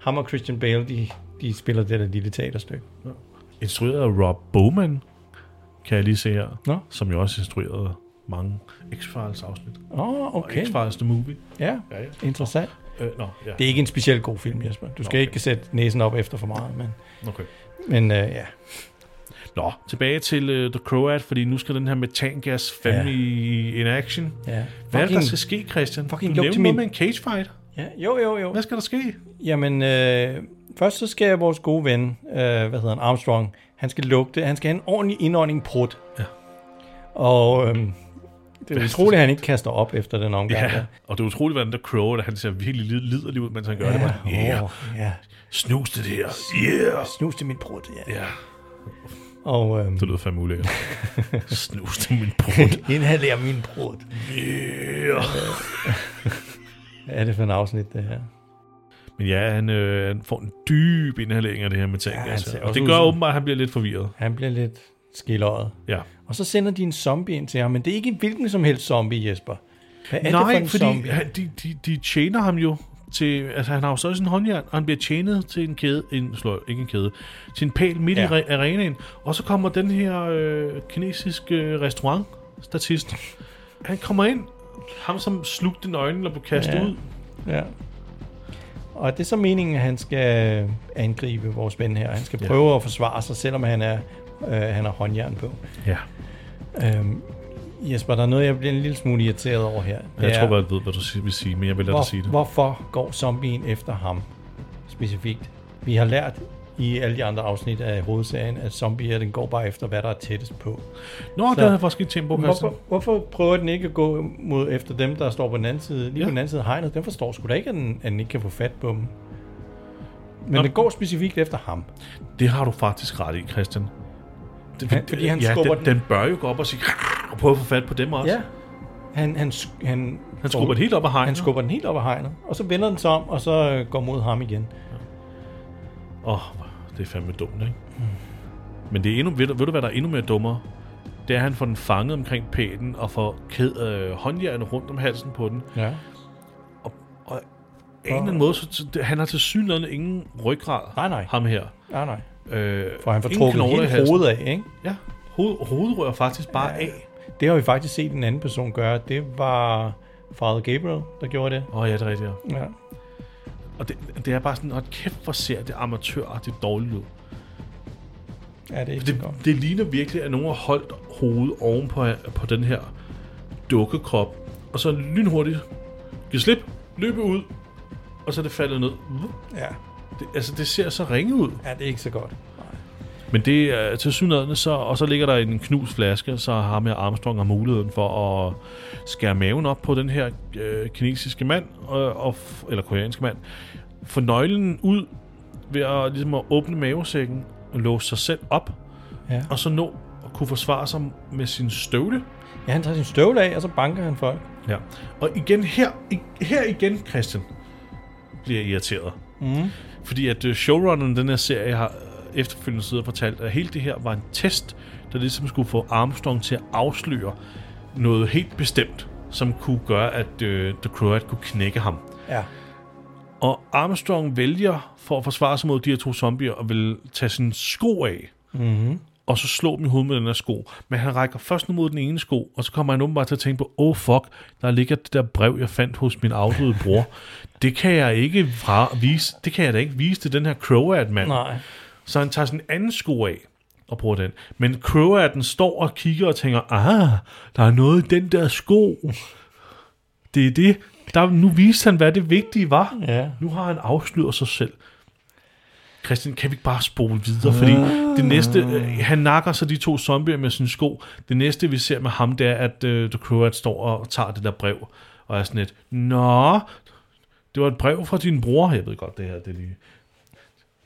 [SPEAKER 2] Ham og Christian Bale, de, de spiller det der lille teaterstykke.
[SPEAKER 1] Instrueret af Rob Bowman, kan jeg lige se her.
[SPEAKER 2] Nå.
[SPEAKER 1] Som jo også instruerede mange X-Files afsnit.
[SPEAKER 2] Åh, oh,
[SPEAKER 1] Okay.
[SPEAKER 2] okay.
[SPEAKER 1] X-Files The Movie.
[SPEAKER 2] Ja,
[SPEAKER 1] Ja, ja.
[SPEAKER 2] interessant.
[SPEAKER 1] Øh, nå, ja.
[SPEAKER 2] Det er ikke en specielt god film, Jesper. Du skal okay.
[SPEAKER 1] Okay.
[SPEAKER 2] ikke sætte næsen op efter for meget, men,
[SPEAKER 1] Okay.
[SPEAKER 2] men øh, ja.
[SPEAKER 1] Nå, tilbage til uh, The Croat, fordi nu skal den her metangas fandme
[SPEAKER 2] Ja.
[SPEAKER 1] i in action.
[SPEAKER 2] Ja.
[SPEAKER 1] Hvad er det, der
[SPEAKER 2] Fucking-
[SPEAKER 1] skal ske, Christian? du
[SPEAKER 2] fucking luk
[SPEAKER 1] nævnte
[SPEAKER 2] til
[SPEAKER 1] noget
[SPEAKER 2] min-
[SPEAKER 1] med en cage fight.
[SPEAKER 2] Ja, jo, jo, jo.
[SPEAKER 1] Hvad skal der ske?
[SPEAKER 2] Jamen, øh, først så skal vores gode ven, øh, hvad hedder han, Armstrong, han skal lugte, han skal have en ordentlig indånding prut. Ja. Og øh, det er utroligt, at han ikke kaster op efter den omgang. der.
[SPEAKER 1] Og det er utroligt, hvordan The Croat, han ser virkelig lid- liderlig ud, mens han gør det. Bare,
[SPEAKER 2] Ja,
[SPEAKER 1] yeah,
[SPEAKER 2] oh, ja.
[SPEAKER 1] snus det der. Yeah.
[SPEAKER 2] Snus til mit prut, ja.
[SPEAKER 1] Ja,
[SPEAKER 2] Og øh,
[SPEAKER 1] det lyder fandme ulækkert. snus det min brud.
[SPEAKER 2] inhaler min prut.
[SPEAKER 1] Yeah.
[SPEAKER 2] Hvad er det for en afsnit, det her?
[SPEAKER 1] Men ja, han, øh, han får en dyb inhalering af det her metangas.
[SPEAKER 2] Ja,
[SPEAKER 1] Ja,
[SPEAKER 2] han ser
[SPEAKER 1] altså. Og
[SPEAKER 2] også
[SPEAKER 1] det
[SPEAKER 2] ud
[SPEAKER 1] gør
[SPEAKER 2] som-
[SPEAKER 1] åbenbart, at han bliver lidt forvirret.
[SPEAKER 2] Han bliver lidt skilleret.
[SPEAKER 1] Ja.
[SPEAKER 2] Og så sender de en zombie ind til ham, men det er ikke en hvilken som helst zombie, Jesper. Hvad er
[SPEAKER 1] Nej,
[SPEAKER 2] det for en
[SPEAKER 1] fordi
[SPEAKER 2] zombie?
[SPEAKER 1] han, de, de, de tjener ham jo til... Altså, han har jo så også en håndjern, og han bliver tjenet til en kæde... En, slå, ikke en kæde. Til en pæl midt ja.
[SPEAKER 2] Ja.
[SPEAKER 1] i re- arenaen. Og så kommer den her øh, kinesiske øh, restaurantstatist. Han kommer ind. Ham, som slugte nøglen og blev kastet ja.
[SPEAKER 2] Ja.
[SPEAKER 1] ud.
[SPEAKER 2] Ja. Og det er så meningen, at han skal øh, angribe vores ven her. Han skal prøve at forsvare sig, selvom han er øh, han har håndjern på.
[SPEAKER 1] Ja.
[SPEAKER 2] Øhm, Jesper, der er noget, jeg bliver en lille smule irriteret over her. Det
[SPEAKER 1] Jeg
[SPEAKER 2] er,
[SPEAKER 1] tror godt, jeg ved, hvad du si- vil sige, men jeg vil lade
[SPEAKER 2] hvor,
[SPEAKER 1] dig sige det.
[SPEAKER 2] hvorfor går zombien efter ham specifikt? Vi har lært i alle de andre afsnit af hovedserien, at zombier, den går bare efter, hvad der er tættest på.
[SPEAKER 1] Nå, det havde jeg faktisk ikke tænkt på, Christian.
[SPEAKER 2] Hvorfor, hvorfor prøver den ikke at gå mod efter dem, der står på den anden side, lige
[SPEAKER 1] Ja.
[SPEAKER 2] ja. på den anden side af hegnet? Den forstår sgu da ikke, at den, at den ikke kan få fat på dem. Men
[SPEAKER 1] Nå.
[SPEAKER 2] Nå. den går specifikt efter ham.
[SPEAKER 1] Det har du faktisk ret i, Christian. Det,
[SPEAKER 2] Han- fordi han
[SPEAKER 1] ja,
[SPEAKER 2] skubber
[SPEAKER 1] den,
[SPEAKER 2] den-
[SPEAKER 1] den bør jo gå op og sige, "Grrr," og prøve at få fat på dem også.
[SPEAKER 2] Ja. Han, han, sk- han,
[SPEAKER 1] Han skubber den helt op ad hegnet,
[SPEAKER 2] han skubber den helt op ad hegnet, og så vender den sig om, og så øh, går mod ham igen.
[SPEAKER 1] Åh, det er fandme dumt, ikke? Men det er endnu, ved, du, ved du, hvad der er endnu mere dummere? Det er, at han får den fanget omkring pælen og får kæd, øh, håndjernet rundt om halsen på den.
[SPEAKER 2] Ja.
[SPEAKER 1] Og af en eller anden måde, så, så det- han har til synligheden ingen ryggrad,
[SPEAKER 2] Nej, nej.
[SPEAKER 1] ham her.
[SPEAKER 2] Nej, nej.
[SPEAKER 1] Øh,
[SPEAKER 2] For han får
[SPEAKER 1] ingen
[SPEAKER 2] trukket
[SPEAKER 1] knogler i
[SPEAKER 2] hele
[SPEAKER 1] halsen.
[SPEAKER 2] hovedet af, ikke?
[SPEAKER 1] Ja, hoved, hovedet rører faktisk bare ja. af.
[SPEAKER 2] Det har vi faktisk set en anden person gøre. Det var Father Gabriel, der gjorde det.
[SPEAKER 1] Åh oh, ja, det er rigtigt, ja.
[SPEAKER 2] Ja.
[SPEAKER 1] Og det, det er bare sådan, at kæft, hvor ser det amatøragtigt dårligt ud.
[SPEAKER 2] Ja, det er ikke så godt.
[SPEAKER 1] Det, det ligner virkelig, at nogen har holdt hovedet oven på, på den her dukkekrop, og så lynhurtigt givet slip, løbe ud, og så er det faldet ned.
[SPEAKER 2] Ja.
[SPEAKER 1] Det, altså, det ser så ringe ud.
[SPEAKER 2] ja, det er ikke så godt.
[SPEAKER 1] Men det er til synligheden, så, og så ligger der en knus flaske, så har med Armstrong har muligheden for at skære maven op på den her øh, kinesiske mand, og, og, f- eller koreanske mand, få nøglen ud ved at, ligesom at åbne mavesækken og låse sig selv op,
[SPEAKER 2] Ja.
[SPEAKER 1] og så nå at kunne forsvare sig med sin støvle.
[SPEAKER 2] ja, han tager sin støvle af, og så banker han folk.
[SPEAKER 1] Ja. Og igen her, i- her igen, Christian, bliver jeg irriteret. Mm. Fordi at øh, showrunneren i den her serie har øh, efterfølgende siddet og fortalt, at hele det her var en test, der ligesom skulle få Armstrong til at afsløre noget helt bestemt, som kunne gøre, at øh, The Croat kunne knække ham.
[SPEAKER 2] Ja.
[SPEAKER 1] Og Armstrong vælger, for at forsvare sig mod de her to zombier, at vil tage sin sko af, mm-hmm. og så slå dem i hovedet med den her sko. Men han rækker først ned mod den ene sko, og så kommer han åbenbart til at tænke på, oh fuck, der ligger det der brev, jeg fandt hos min afdøde bror. Det kan jeg ikke fra- vise, det kan jeg da ikke vise til den her Croat mand.
[SPEAKER 2] Nej.
[SPEAKER 1] Så han tager sin anden sko af og bruger den. Men Croaten står og kigger og tænker, ah, der er noget i den der sko. Det er det. Der, nu viste han, hvad det vigtige var.
[SPEAKER 2] Ja.
[SPEAKER 1] Nu har han afsløret sig selv. Christian, kan vi ikke bare spole videre? Fordi det næste, øh, han nakker så de to zombier med sin sko. Det næste, vi ser med ham, det er, at øh, The Croat står og tager det der brev. Og er sådan lidt, nå, det var et brev fra din bror. Jeg ved godt, det her, det er lige...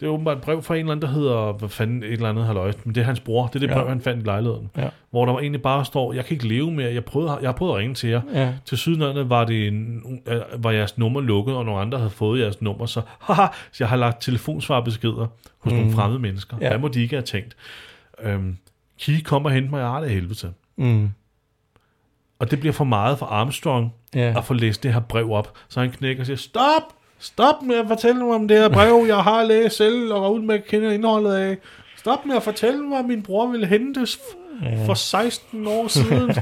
[SPEAKER 1] Det er åbenbart et brev fra en eller anden, der hedder, hvad fanden, et eller andet halvøj. Men det er hans bror. Det er det
[SPEAKER 2] Ja.
[SPEAKER 1] brev, han fandt i lejligheden.
[SPEAKER 2] Ja.
[SPEAKER 1] Hvor der var egentlig bare står, jeg kan ikke leve mere. Jeg, prøvede, jeg har prøvet at ringe til jer.
[SPEAKER 2] Ja.
[SPEAKER 1] Til sydenlandet var, det en, øh, var jeres nummer lukket, og nogle andre havde fået jeres nummer. Så, haha, så jeg har lagt telefonsvarbeskeder hos mm. nogle fremmede mennesker. Ja.
[SPEAKER 2] Ja.
[SPEAKER 1] Hvad må de ikke have tænkt? Øhm, Kige, kom og hent mig, jeg er det helvede til.
[SPEAKER 2] Mm.
[SPEAKER 1] Og det bliver for meget for Armstrong
[SPEAKER 2] Ja.
[SPEAKER 1] at få læst det her brev op. Så han knækker og siger, stop! Stop med at fortælle mig om det her brev, jeg har læst selv og var uden med at kende indholdet af. Stop med at fortælle mig, at min bror ville hentes f- for 16 år siden.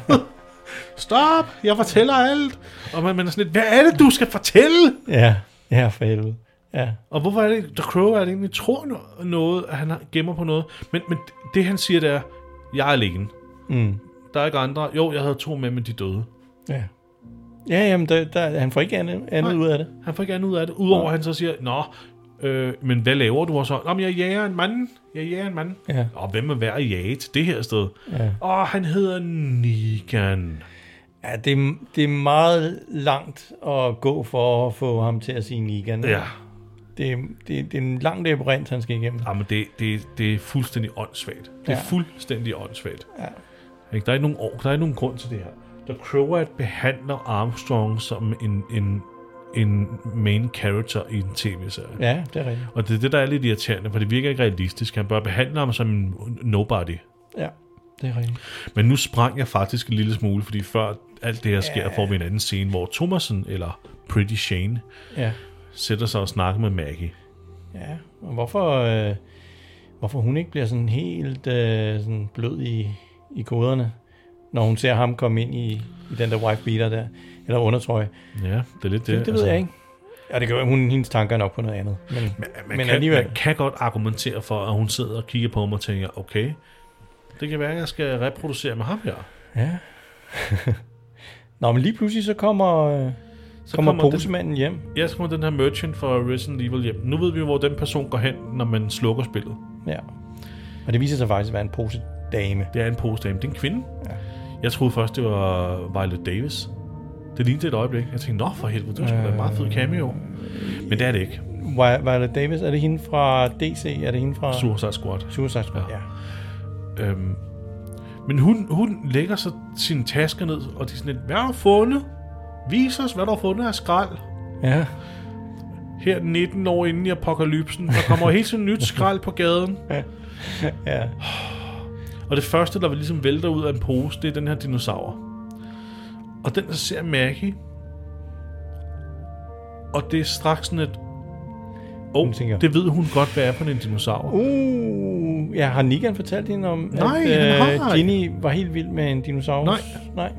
[SPEAKER 1] stop! Jeg fortæller alt! Og man, man er sådan lidt, hvad er det, du skal fortælle?
[SPEAKER 2] Ja, ja for helvede. Ja.
[SPEAKER 1] Og hvorfor er det, der Crow er det egentlig tror no- noget, at han har- gemmer på noget, men, men det han siger, det er, jeg er alene. Mm. Der er ikke andre. Jo, jeg havde to med, men de døde.
[SPEAKER 2] Ja, ja jamen, der, der, han får ikke andet, andet ud af det.
[SPEAKER 1] Han får ikke andet ud af det, udover at han så siger, Nå, øh, men hvad laver du? Og så, Nå, men jeg jager en mand. Jeg jager en mand.
[SPEAKER 2] Ja.
[SPEAKER 1] Og hvem er værd at jage til det her sted? Ja. Og han hedder Negan.
[SPEAKER 2] Ja, det er, det er meget langt at gå for at få ham til at sige Negan.
[SPEAKER 1] Ja.
[SPEAKER 2] Det, er- det, er- det er en lang labyrint, han skal igennem.
[SPEAKER 1] Jamen, Ah, det, det, det er fuldstændig åndssvagt. Det er
[SPEAKER 2] Ja.
[SPEAKER 1] ja. fuldstændig åndssvagt. Ja. Ikke? Der, er ikke nogen, or- der er ikke nogen grund til det her. Da Croat behandler Armstrong som en, en, en main character i en tv-serie. Ja.
[SPEAKER 2] Ja, det er rigtigt.
[SPEAKER 1] Og det er det, der er lidt irriterende, for det virker ikke realistisk. Han bør behandle ham som en nobody.
[SPEAKER 2] Ja, det er rigtigt.
[SPEAKER 1] Men nu sprang jeg faktisk en lille smule, fordi før alt det her sker, får vi en anden scene, hvor Thomasen, eller Pretty Shane,
[SPEAKER 2] Ja.
[SPEAKER 1] sætter sig og snakker med Maggie.
[SPEAKER 2] Ja, og hvorfor, øh, hvorfor hun ikke bliver sådan helt øh, sådan blød i, i koderne, når hun ser ham komme ind i, i den der wife beater der, eller undertrøje.
[SPEAKER 1] Ja, det er lidt det. altså.
[SPEAKER 2] Det, det ved jeg ikke. Ja, det gør hun, hendes tanker er nok på noget andet. Men, men,
[SPEAKER 1] Man,
[SPEAKER 2] men
[SPEAKER 1] kan,
[SPEAKER 2] alligevel,
[SPEAKER 1] man kan godt argumentere for, at hun sidder og kigger på mig og tænker, okay, det kan være, at jeg skal reproducere med ham her.
[SPEAKER 2] ja. Nå, men lige pludselig så kommer, øh, så kommer,
[SPEAKER 1] kommer den-
[SPEAKER 2] kommer posemanden hjem.
[SPEAKER 1] Jeg skal den her merchant for Resident Evil hjem. Nu ved vi, hvor den person går hen, når man slukker spillet.
[SPEAKER 2] Ja. Og det viser sig faktisk at være en pose dame.
[SPEAKER 1] Det er en postdame. Det er en kvinde. Ja. Jeg troede først, det var Violet Davis. Det lignede et øjeblik. Jeg tænkte, nå for helvede, det var sgu da en meget fed
[SPEAKER 2] Øh.
[SPEAKER 1] cameo. Men det er det ikke.
[SPEAKER 2] Vi- Violet Davis, er det hende fra DC? Er det hende fra
[SPEAKER 1] Suicide Squad.
[SPEAKER 2] Suicide Squad?
[SPEAKER 1] Ja.
[SPEAKER 2] Ja.
[SPEAKER 1] Øhm. Men hun, hun lægger så sine tasker ned, og de er sådan lidt, hvad har du fundet? Vis os, hvad du har fundet af skrald.
[SPEAKER 2] ja.
[SPEAKER 1] Her 19 år inden i apokalypsen, der kommer helt sådan nyt skrald på gaden.
[SPEAKER 2] ja.
[SPEAKER 1] Og det første, der ligesom vælter ud af en pose, det er den her dinosaur. Og den, der ser Maggie, og det er straks sådan et, åh, oh,
[SPEAKER 2] tænker-
[SPEAKER 1] det ved hun godt, hvad er på en dinosaur.
[SPEAKER 2] Uh, ja, har Negan fortalt hende om,
[SPEAKER 1] Nej,
[SPEAKER 2] at øh,
[SPEAKER 1] han har ikke.
[SPEAKER 2] Ginny var helt vild med en dinosaur?
[SPEAKER 1] Nej.
[SPEAKER 2] Nej,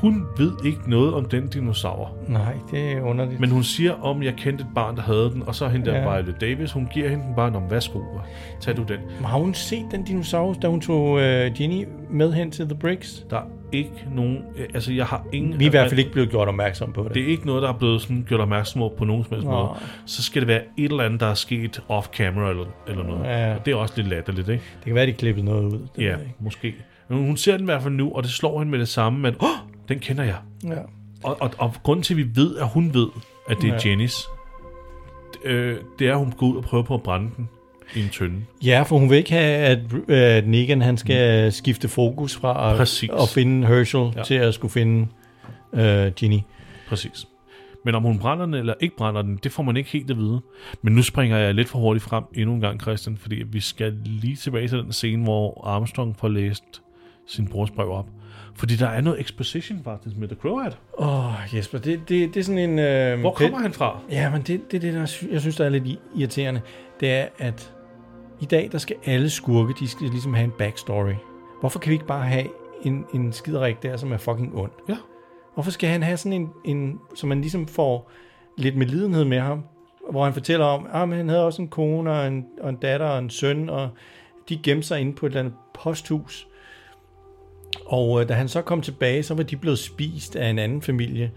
[SPEAKER 1] Hun ved ikke noget om den dinosaur.
[SPEAKER 2] Nej det er underligt.
[SPEAKER 1] Men hun siger, om jeg kendte et barn, der havde den, og så hende der
[SPEAKER 2] Ja.
[SPEAKER 1] ja. Violet Davis, hun giver hende den bare, om værsgo, og tag du den.
[SPEAKER 2] Men har hun set den dinosaur, da hun tog øh, Ginny med hen til The Bricks?
[SPEAKER 1] Der er ikke nogen, øh, altså jeg har ingen...
[SPEAKER 2] Vi er i hvert fald ikke blevet gjort opmærksom på det.
[SPEAKER 1] Det er ikke noget, der er blevet sådan, gjort opmærksom på nogen som helst
[SPEAKER 2] Nej.
[SPEAKER 1] måde. Så skal det være et eller andet, der er sket off-camera eller, eller noget.
[SPEAKER 2] Ja.
[SPEAKER 1] Og det er også lidt latterligt, ikke?
[SPEAKER 2] det kan være, de klippede noget ud. Det ved
[SPEAKER 1] Ja,
[SPEAKER 2] jeg ikke.
[SPEAKER 1] måske. Men hun ser den i hvert fald nu, og det slår hende med det samme, men oh, den kender jeg.
[SPEAKER 2] Ja.
[SPEAKER 1] Og, og, og grunden til, at vi ved, at hun ved, at det er
[SPEAKER 2] Ja.
[SPEAKER 1] ja. Jennys, øh, det er, at hun går ud og prøver på at brænde den i en tønde.
[SPEAKER 2] ja, for hun vil ikke have, at, at Negan han skal skifte fokus fra at,
[SPEAKER 1] Mm. Præcis.
[SPEAKER 2] at finde Herschel ja.
[SPEAKER 1] Ja.
[SPEAKER 2] til at skulle finde øh, Ginny.
[SPEAKER 1] Præcis. Men om hun brænder den eller ikke brænder den, det får man ikke helt at vide. Men nu springer jeg lidt for hurtigt frem endnu en gang, Christian, fordi vi skal lige tilbage til den scene, hvor Armstrong får læst sin brors brev op. Fordi der er noget exposition faktisk med The Croat.
[SPEAKER 2] Åh, oh, Jesper, det, det, det er sådan en... Øh,
[SPEAKER 1] Hvor kommer han fra?
[SPEAKER 2] Ja, men det er det, det, der sy- jeg synes, der er lidt i- irriterende. Det er, at i dag, der skal alle skurke, de skal ligesom have en backstory. Hvorfor kan vi ikke bare have en, en skiderik der, som er fucking ond?
[SPEAKER 1] Ja.
[SPEAKER 2] Hvorfor skal han have sådan en, en så man ligesom får lidt medlidenhed med ham, hvor han fortæller om, at ah, men han havde også en kone og en, og en datter og en søn, og de gemte sig inde på et eller andet posthus. Og øh, da han så kom tilbage, så var de blevet spist af en anden familie.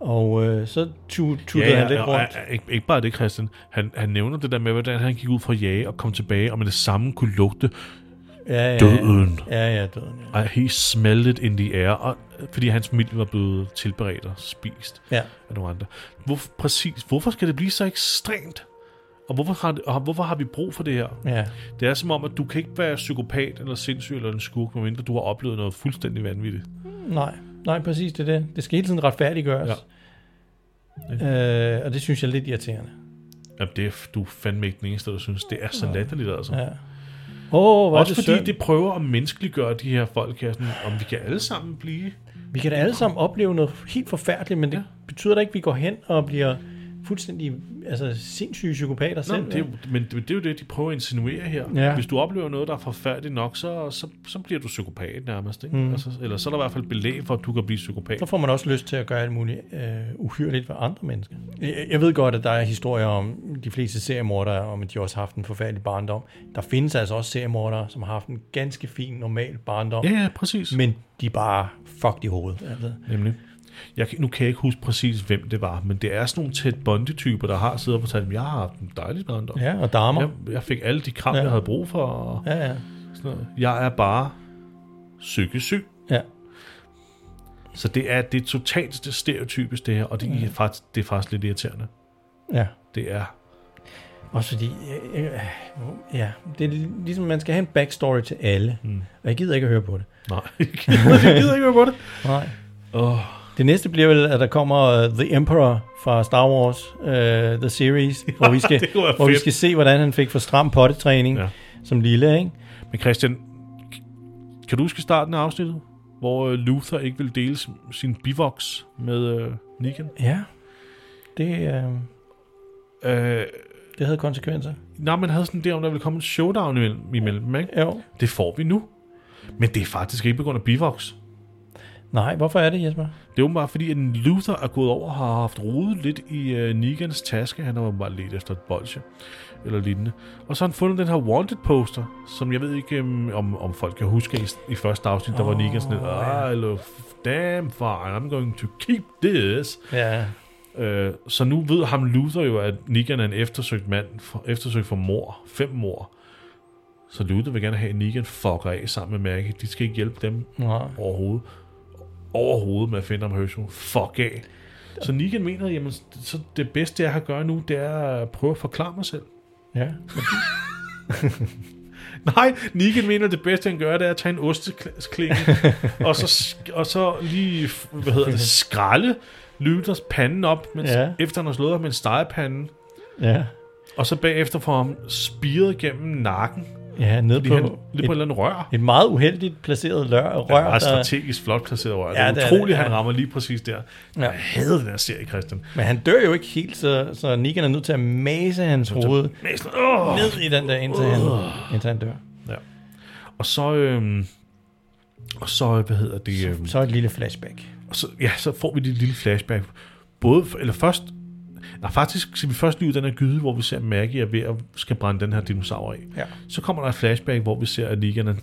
[SPEAKER 2] Og øh, så tu- tuttede han lidt
[SPEAKER 1] og,
[SPEAKER 2] rundt.
[SPEAKER 1] og, og, ikke, ikke bare det, Christian. Han, han nævner det der med, hvordan han gik ud fra jage og kom tilbage, og med det samme kunne lugte
[SPEAKER 2] Ja, ja,
[SPEAKER 1] døden.
[SPEAKER 2] Ja, ja, døden. Ja.
[SPEAKER 1] Og he smelted in the air, og, øh, fordi hans familie var blevet tilberedt og spist.
[SPEAKER 2] ja.
[SPEAKER 1] af nogle andre. Hvor, præcis, hvorfor skal det blive så ekstremt? Og hvorfor har, det, og hvorfor har vi brug for det her?
[SPEAKER 2] ja.
[SPEAKER 1] Det er som om, at du kan ikke være psykopat eller sindssyg eller en skurk, medmindre du har oplevet noget fuldstændig vanvittigt.
[SPEAKER 2] Nej, nej, præcis det er det. Det skal hele tiden retfærdiggøres. Ja. Øh, og det synes jeg er lidt irriterende.
[SPEAKER 1] Jamen, det er, du er fandme ikke den eneste, der synes, det er så latterligt, altså.
[SPEAKER 2] Ja. Åh, oh, hvor er
[SPEAKER 1] Også
[SPEAKER 2] det
[SPEAKER 1] fordi
[SPEAKER 2] synd.
[SPEAKER 1] det prøver at menneskeliggøre de her folk her, sådan, om vi kan alle sammen blive.
[SPEAKER 2] Vi kan da alle sammen opleve noget helt forfærdeligt, men det betyder da ikke, at vi går hen og bliver fuldstændig altså, sindssyge psykopater
[SPEAKER 1] Nå,
[SPEAKER 2] selv.
[SPEAKER 1] men det, er jo- men det, det er jo det, de prøver at insinuere her.
[SPEAKER 2] Ja.
[SPEAKER 1] Hvis du oplever noget, der er forfærdeligt nok, så, så, så bliver du psykopat nærmest. Ikke? Mm. Altså, eller så er der i hvert fald belæg for, at du kan blive psykopat.
[SPEAKER 2] Så får man også lyst til at gøre alt muligt øh, uhyrligt for andre mennesker. Jeg, jeg ved godt, at der er historier om de fleste seriemordere, om at de også har haft en forfærdelig barndom. Der findes altså også seriemordere, som har haft en ganske fin, normal barndom,
[SPEAKER 1] Ja, ja, præcis.
[SPEAKER 2] men de er bare fucked i hovedet. Altså.
[SPEAKER 1] Nemlig. Jeg, kan- nu kan jeg ikke huske præcis, hvem det var, men det er sådan nogle tæt bondetyper, der har siddet og fortalt, at jeg har haft en dejlig barndom.
[SPEAKER 2] Ja, og damer.
[SPEAKER 1] Jeg, jeg fik alle de kram, ja.
[SPEAKER 2] Ja.
[SPEAKER 1] jeg havde brug for. Og
[SPEAKER 2] Ja, ja.
[SPEAKER 1] sådan noget. Jeg er bare psykisk syg.
[SPEAKER 2] ja.
[SPEAKER 1] Så det er det er totalt det stereotypisk, det her, og det, er, faktisk, det er faktisk lidt irriterende.
[SPEAKER 2] ja.
[SPEAKER 1] Det er
[SPEAKER 2] Også fordi, øh, øh, ja, det er ligesom, man skal have en backstory til alle, mm. og jeg gider ikke at høre på det.
[SPEAKER 1] Nej, jeg gider ikke være på det.
[SPEAKER 2] Nej.
[SPEAKER 1] Åh.
[SPEAKER 2] Det næste bliver vel, at der kommer uh, The Emperor fra Star Wars, uh, The Series, hvor, vi skal,
[SPEAKER 1] det kunne være
[SPEAKER 2] hvor vi
[SPEAKER 1] fedt.
[SPEAKER 2] skal se, hvordan han fik for stram pottetræning
[SPEAKER 1] Ja.
[SPEAKER 2] ja. som lille, ikke?
[SPEAKER 1] Men Christian, kan du huske i starten af afsnittet, hvor øh, Luther ikke vil dele sin, sin bivoks med øh, Negan?
[SPEAKER 2] Ja. Det, øh,
[SPEAKER 1] Øh,
[SPEAKER 2] det havde konsekvenser.
[SPEAKER 1] nej, man havde sådan det, om der ville komme en showdown imellem, imellem ikke?
[SPEAKER 2] Jo.
[SPEAKER 1] Det får vi nu. Men det er faktisk ikke på grund af bivoks.
[SPEAKER 2] Nej, hvorfor er det, Jesper?
[SPEAKER 1] Det er åbenbart fordi, at Luther er gået over og har haft rodet lidt i øh, Negans taske. Han har åbenbart let efter et bolsje eller lignende. Og så har han fundet den her wanted poster, som jeg ved ikke, øhm, om, om folk kan huske i, i første afsnit, der oh, var Negan sådan lidt, "Ah, I love damn fine, I'm going to keep this.
[SPEAKER 2] Ja.
[SPEAKER 1] Øh, så nu ved ham Luther jo, at Negan er en eftersøgt mand, for, eftersøgt for mor, fem mor. Så Luther vil gerne have, at Negan fucker af sammen med Maggie. De skal ikke hjælpe dem
[SPEAKER 2] Nej.
[SPEAKER 1] overhovedet, overhovedet med at finde ham Herschel. Fuck af. Så Negan mener, jamen, så det bedste, jeg har at gøre nu, det er at prøve at forklare mig selv.
[SPEAKER 2] Ja.
[SPEAKER 1] Nej, Negan mener, det bedste, han gør, det er at tage en osteklinge, og så, sk- og så lige, f- hvad hedder det, skralde Luthers panden op, mens, ja.
[SPEAKER 2] Ja.
[SPEAKER 1] efter han har slået ham med en stegepande,
[SPEAKER 2] Ja.
[SPEAKER 1] og så bagefter får ham spiret gennem nakken,
[SPEAKER 2] Ja, ned
[SPEAKER 1] lige, han,
[SPEAKER 2] på
[SPEAKER 1] lige på et, et eller andet rør.
[SPEAKER 2] et, et meget uheldigt placeret lør,
[SPEAKER 1] Rør,
[SPEAKER 2] rør,
[SPEAKER 1] meget
[SPEAKER 2] der,
[SPEAKER 1] strategisk flot placeret rør.
[SPEAKER 2] Ja,
[SPEAKER 1] Ja, det
[SPEAKER 2] det
[SPEAKER 1] er
[SPEAKER 2] er
[SPEAKER 1] utroligt,
[SPEAKER 2] det,
[SPEAKER 1] han
[SPEAKER 2] ja.
[SPEAKER 1] rammer lige præcis der.
[SPEAKER 2] Ja.
[SPEAKER 1] Jeg havde den her serie, Christian.
[SPEAKER 2] men han dør jo ikke helt, så, så Negan er nødt til at mase hans hoved
[SPEAKER 1] Mæsler. Åh!
[SPEAKER 2] ned i den der, indtil han, indtil han dør.
[SPEAKER 1] Og så, øhm, og så, hvad hedder det, øhm,
[SPEAKER 2] Så et lille flashback.
[SPEAKER 1] og så, ja, så får vi det lille flashback. Både, f- eller først, nej, faktisk skal vi først lige ud i den her gyde, hvor vi ser at Maggie er ved at skal brænde den her dinosaur af.
[SPEAKER 2] Ja.
[SPEAKER 1] Så kommer der et flashback, hvor vi ser, at Negan, han,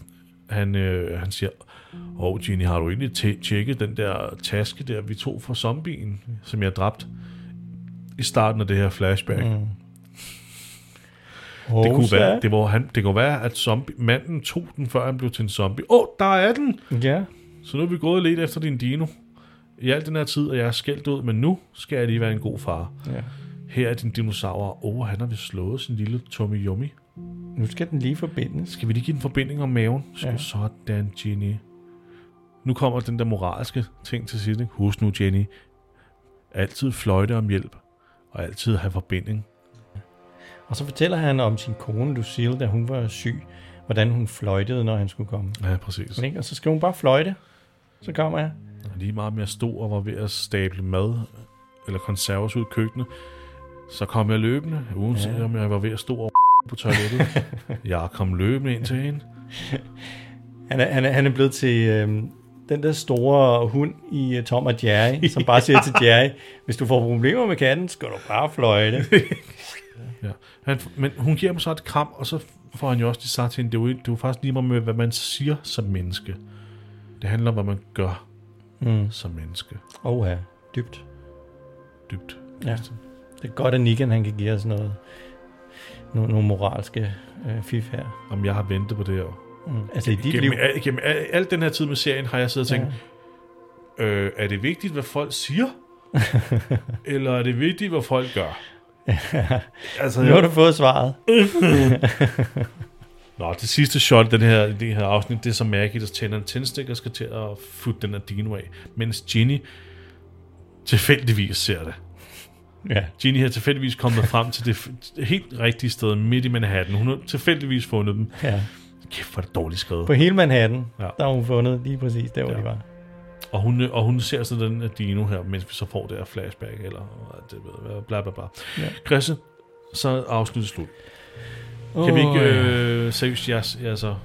[SPEAKER 1] han, øh, han siger, åh, oh, Ginny, har du egentlig tæ- tjekket den der taske der, vi tog fra zombien, som jeg dræbte i starten af det her flashback? Mm.
[SPEAKER 2] Oh,
[SPEAKER 1] Det kunne være, det, hvor han, det kunne være at zombie, manden tog den, før han blev til en zombie. Åh, oh, der er den!
[SPEAKER 2] Ja.
[SPEAKER 1] Så nu er vi gået lidt efter din dino. I al den her tid, og jeg er skældt ud, men nu skal jeg lige være en god far.
[SPEAKER 2] ja.
[SPEAKER 1] Her er din dinosaur. Åh, oh, han har vist slået sin lille Tommy Yummy.
[SPEAKER 2] Nu skal den lige forbindes.
[SPEAKER 1] Skal vi lige give en forbinding om maven? Skal ja.
[SPEAKER 2] Ja.
[SPEAKER 1] sådan, Jenny. Nu kommer den der moralske ting til sidst. ikke? Husk nu, Jenny. Altid fløjte om hjælp, og altid have forbinding.
[SPEAKER 2] Og så fortæller han om sin kone Lucille, da hun var syg, hvordan hun fløjtede, når han skulle komme.
[SPEAKER 1] Ja, præcis.
[SPEAKER 2] Men ikke? Og så skal hun bare fløjte. Så kommer jeg.
[SPEAKER 1] Lige meget mere stod og var ved at stable mad eller konserves ud i køkkenet, så kom jeg løbende, uanset ja. om jeg var ved at stå og på toilettet. jeg kom løbende ind til hende.
[SPEAKER 2] Han er, han er, han er blevet til øhm, den der store hund i øh, Tom og Jerry, som bare siger til Jerry, hvis du får problemer med katten, skal du bare fløjte.
[SPEAKER 1] Ja. Han, men hun giver mig så et kram, og så får han jo også lige sagt til hende, det er jo, ikke- det er jo faktisk lige meget med, hvad man siger som menneske. Det handler om, hvad man gør mm. som menneske.
[SPEAKER 2] Åh ja, dybt.
[SPEAKER 1] Dybt.
[SPEAKER 2] Ja. Det er godt, at Negan han kan give os noget, nogle, nogle moralske øh, fif her.
[SPEAKER 1] Om jeg har ventet på det her.
[SPEAKER 2] Mm. Altså i dit liv.
[SPEAKER 1] Gennem, al, gennem al, al den her tid med serien har jeg siddet og tænkt, ja. øh, er det vigtigt, hvad folk siger? Eller er det vigtigt, hvad folk gør? altså,
[SPEAKER 2] Nu har
[SPEAKER 1] jeg,
[SPEAKER 2] du fået svaret.
[SPEAKER 1] nå, det sidste shot i den her, i det her afsnit, det er så Maggie, der tænder en tændstik og skal til at futte den her dino af, mens Ginny tilfældigvis ser det.
[SPEAKER 2] Ja.
[SPEAKER 1] Ginny har tilfældigvis kommet frem til det f- helt rigtige sted midt i Manhattan. Hun har tilfældigvis fundet dem.
[SPEAKER 2] ja.
[SPEAKER 1] Kæft, hvor er det dårligt skrevet.
[SPEAKER 2] På hele Manhattan,
[SPEAKER 1] Ja.
[SPEAKER 2] ja. der har hun fundet lige præcis der, hvor
[SPEAKER 1] Ja.
[SPEAKER 2] ja. de var.
[SPEAKER 1] Og hun, og hun ser så den af Dino her, mens vi så får det her flashback, eller øh, det ved jeg, bla bla bla. Ja. Chrisse, så er afsnittet slut. Kan vi ikke, øh, seriøst, jeg, jeg så...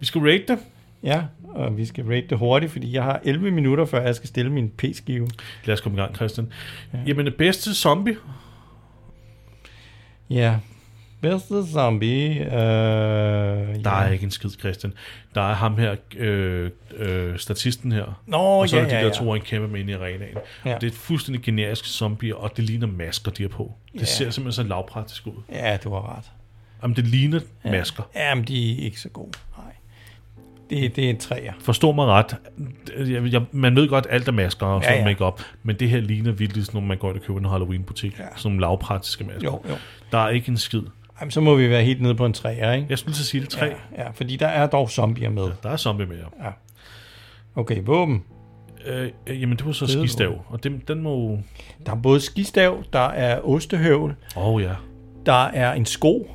[SPEAKER 1] Vi skulle rate det.
[SPEAKER 2] Ja, og vi skal rate det hurtigt, fordi jeg har 11 minutter, før jeg skal stille min p-skive.
[SPEAKER 1] Lad os komme i gang, Christian. Ja. Jamen, det bedste zombie,
[SPEAKER 2] Ja. Bedste zombie. Øh,
[SPEAKER 1] der
[SPEAKER 2] ja.
[SPEAKER 1] er ikke en skid, Christian. Der er ham her, øh, øh, statisten her.
[SPEAKER 2] Nå,
[SPEAKER 1] og så
[SPEAKER 2] ja,
[SPEAKER 1] er det de
[SPEAKER 2] ja,
[SPEAKER 1] der
[SPEAKER 2] ja.
[SPEAKER 1] to, han kæmper med inde i arenaen.
[SPEAKER 2] Ja.
[SPEAKER 1] Ja. Det er et fuldstændig generisk zombie, og det ligner masker, de har på. Det
[SPEAKER 2] Ja.
[SPEAKER 1] ser simpelthen så lavpraktisk ud.
[SPEAKER 2] Ja, du har ret.
[SPEAKER 1] Jamen, det ligner ja. masker.
[SPEAKER 2] Jamen, de er ikke så gode. Nej. Det, det er en træer.
[SPEAKER 1] Forstå mig ret. Jeg, jeg, man ved godt, alt er masker og sådan
[SPEAKER 2] ja.
[SPEAKER 1] ja, ja. make-up, men det her ligner virkelig sådan nogle, man går ind og køber i en Halloween-butik. Ja. Sådan nogle lavpraktiske masker.
[SPEAKER 2] Jo, jo.
[SPEAKER 1] Der er ikke en skid.
[SPEAKER 2] Jamen, så må vi være helt nede på en træer, ikke?
[SPEAKER 1] Jeg skulle lige så sige det. Tre. Ja.
[SPEAKER 2] Ja, fordi der er dog zombier med.
[SPEAKER 1] Der er zombie med jer.
[SPEAKER 2] Okay, våben.
[SPEAKER 1] Øh, øh, jamen, det var så
[SPEAKER 2] Fede
[SPEAKER 1] skistav, og den, den må... Åh
[SPEAKER 2] Der er både skistav, der er ostehøvl,
[SPEAKER 1] oh, ja.
[SPEAKER 2] der er en sko.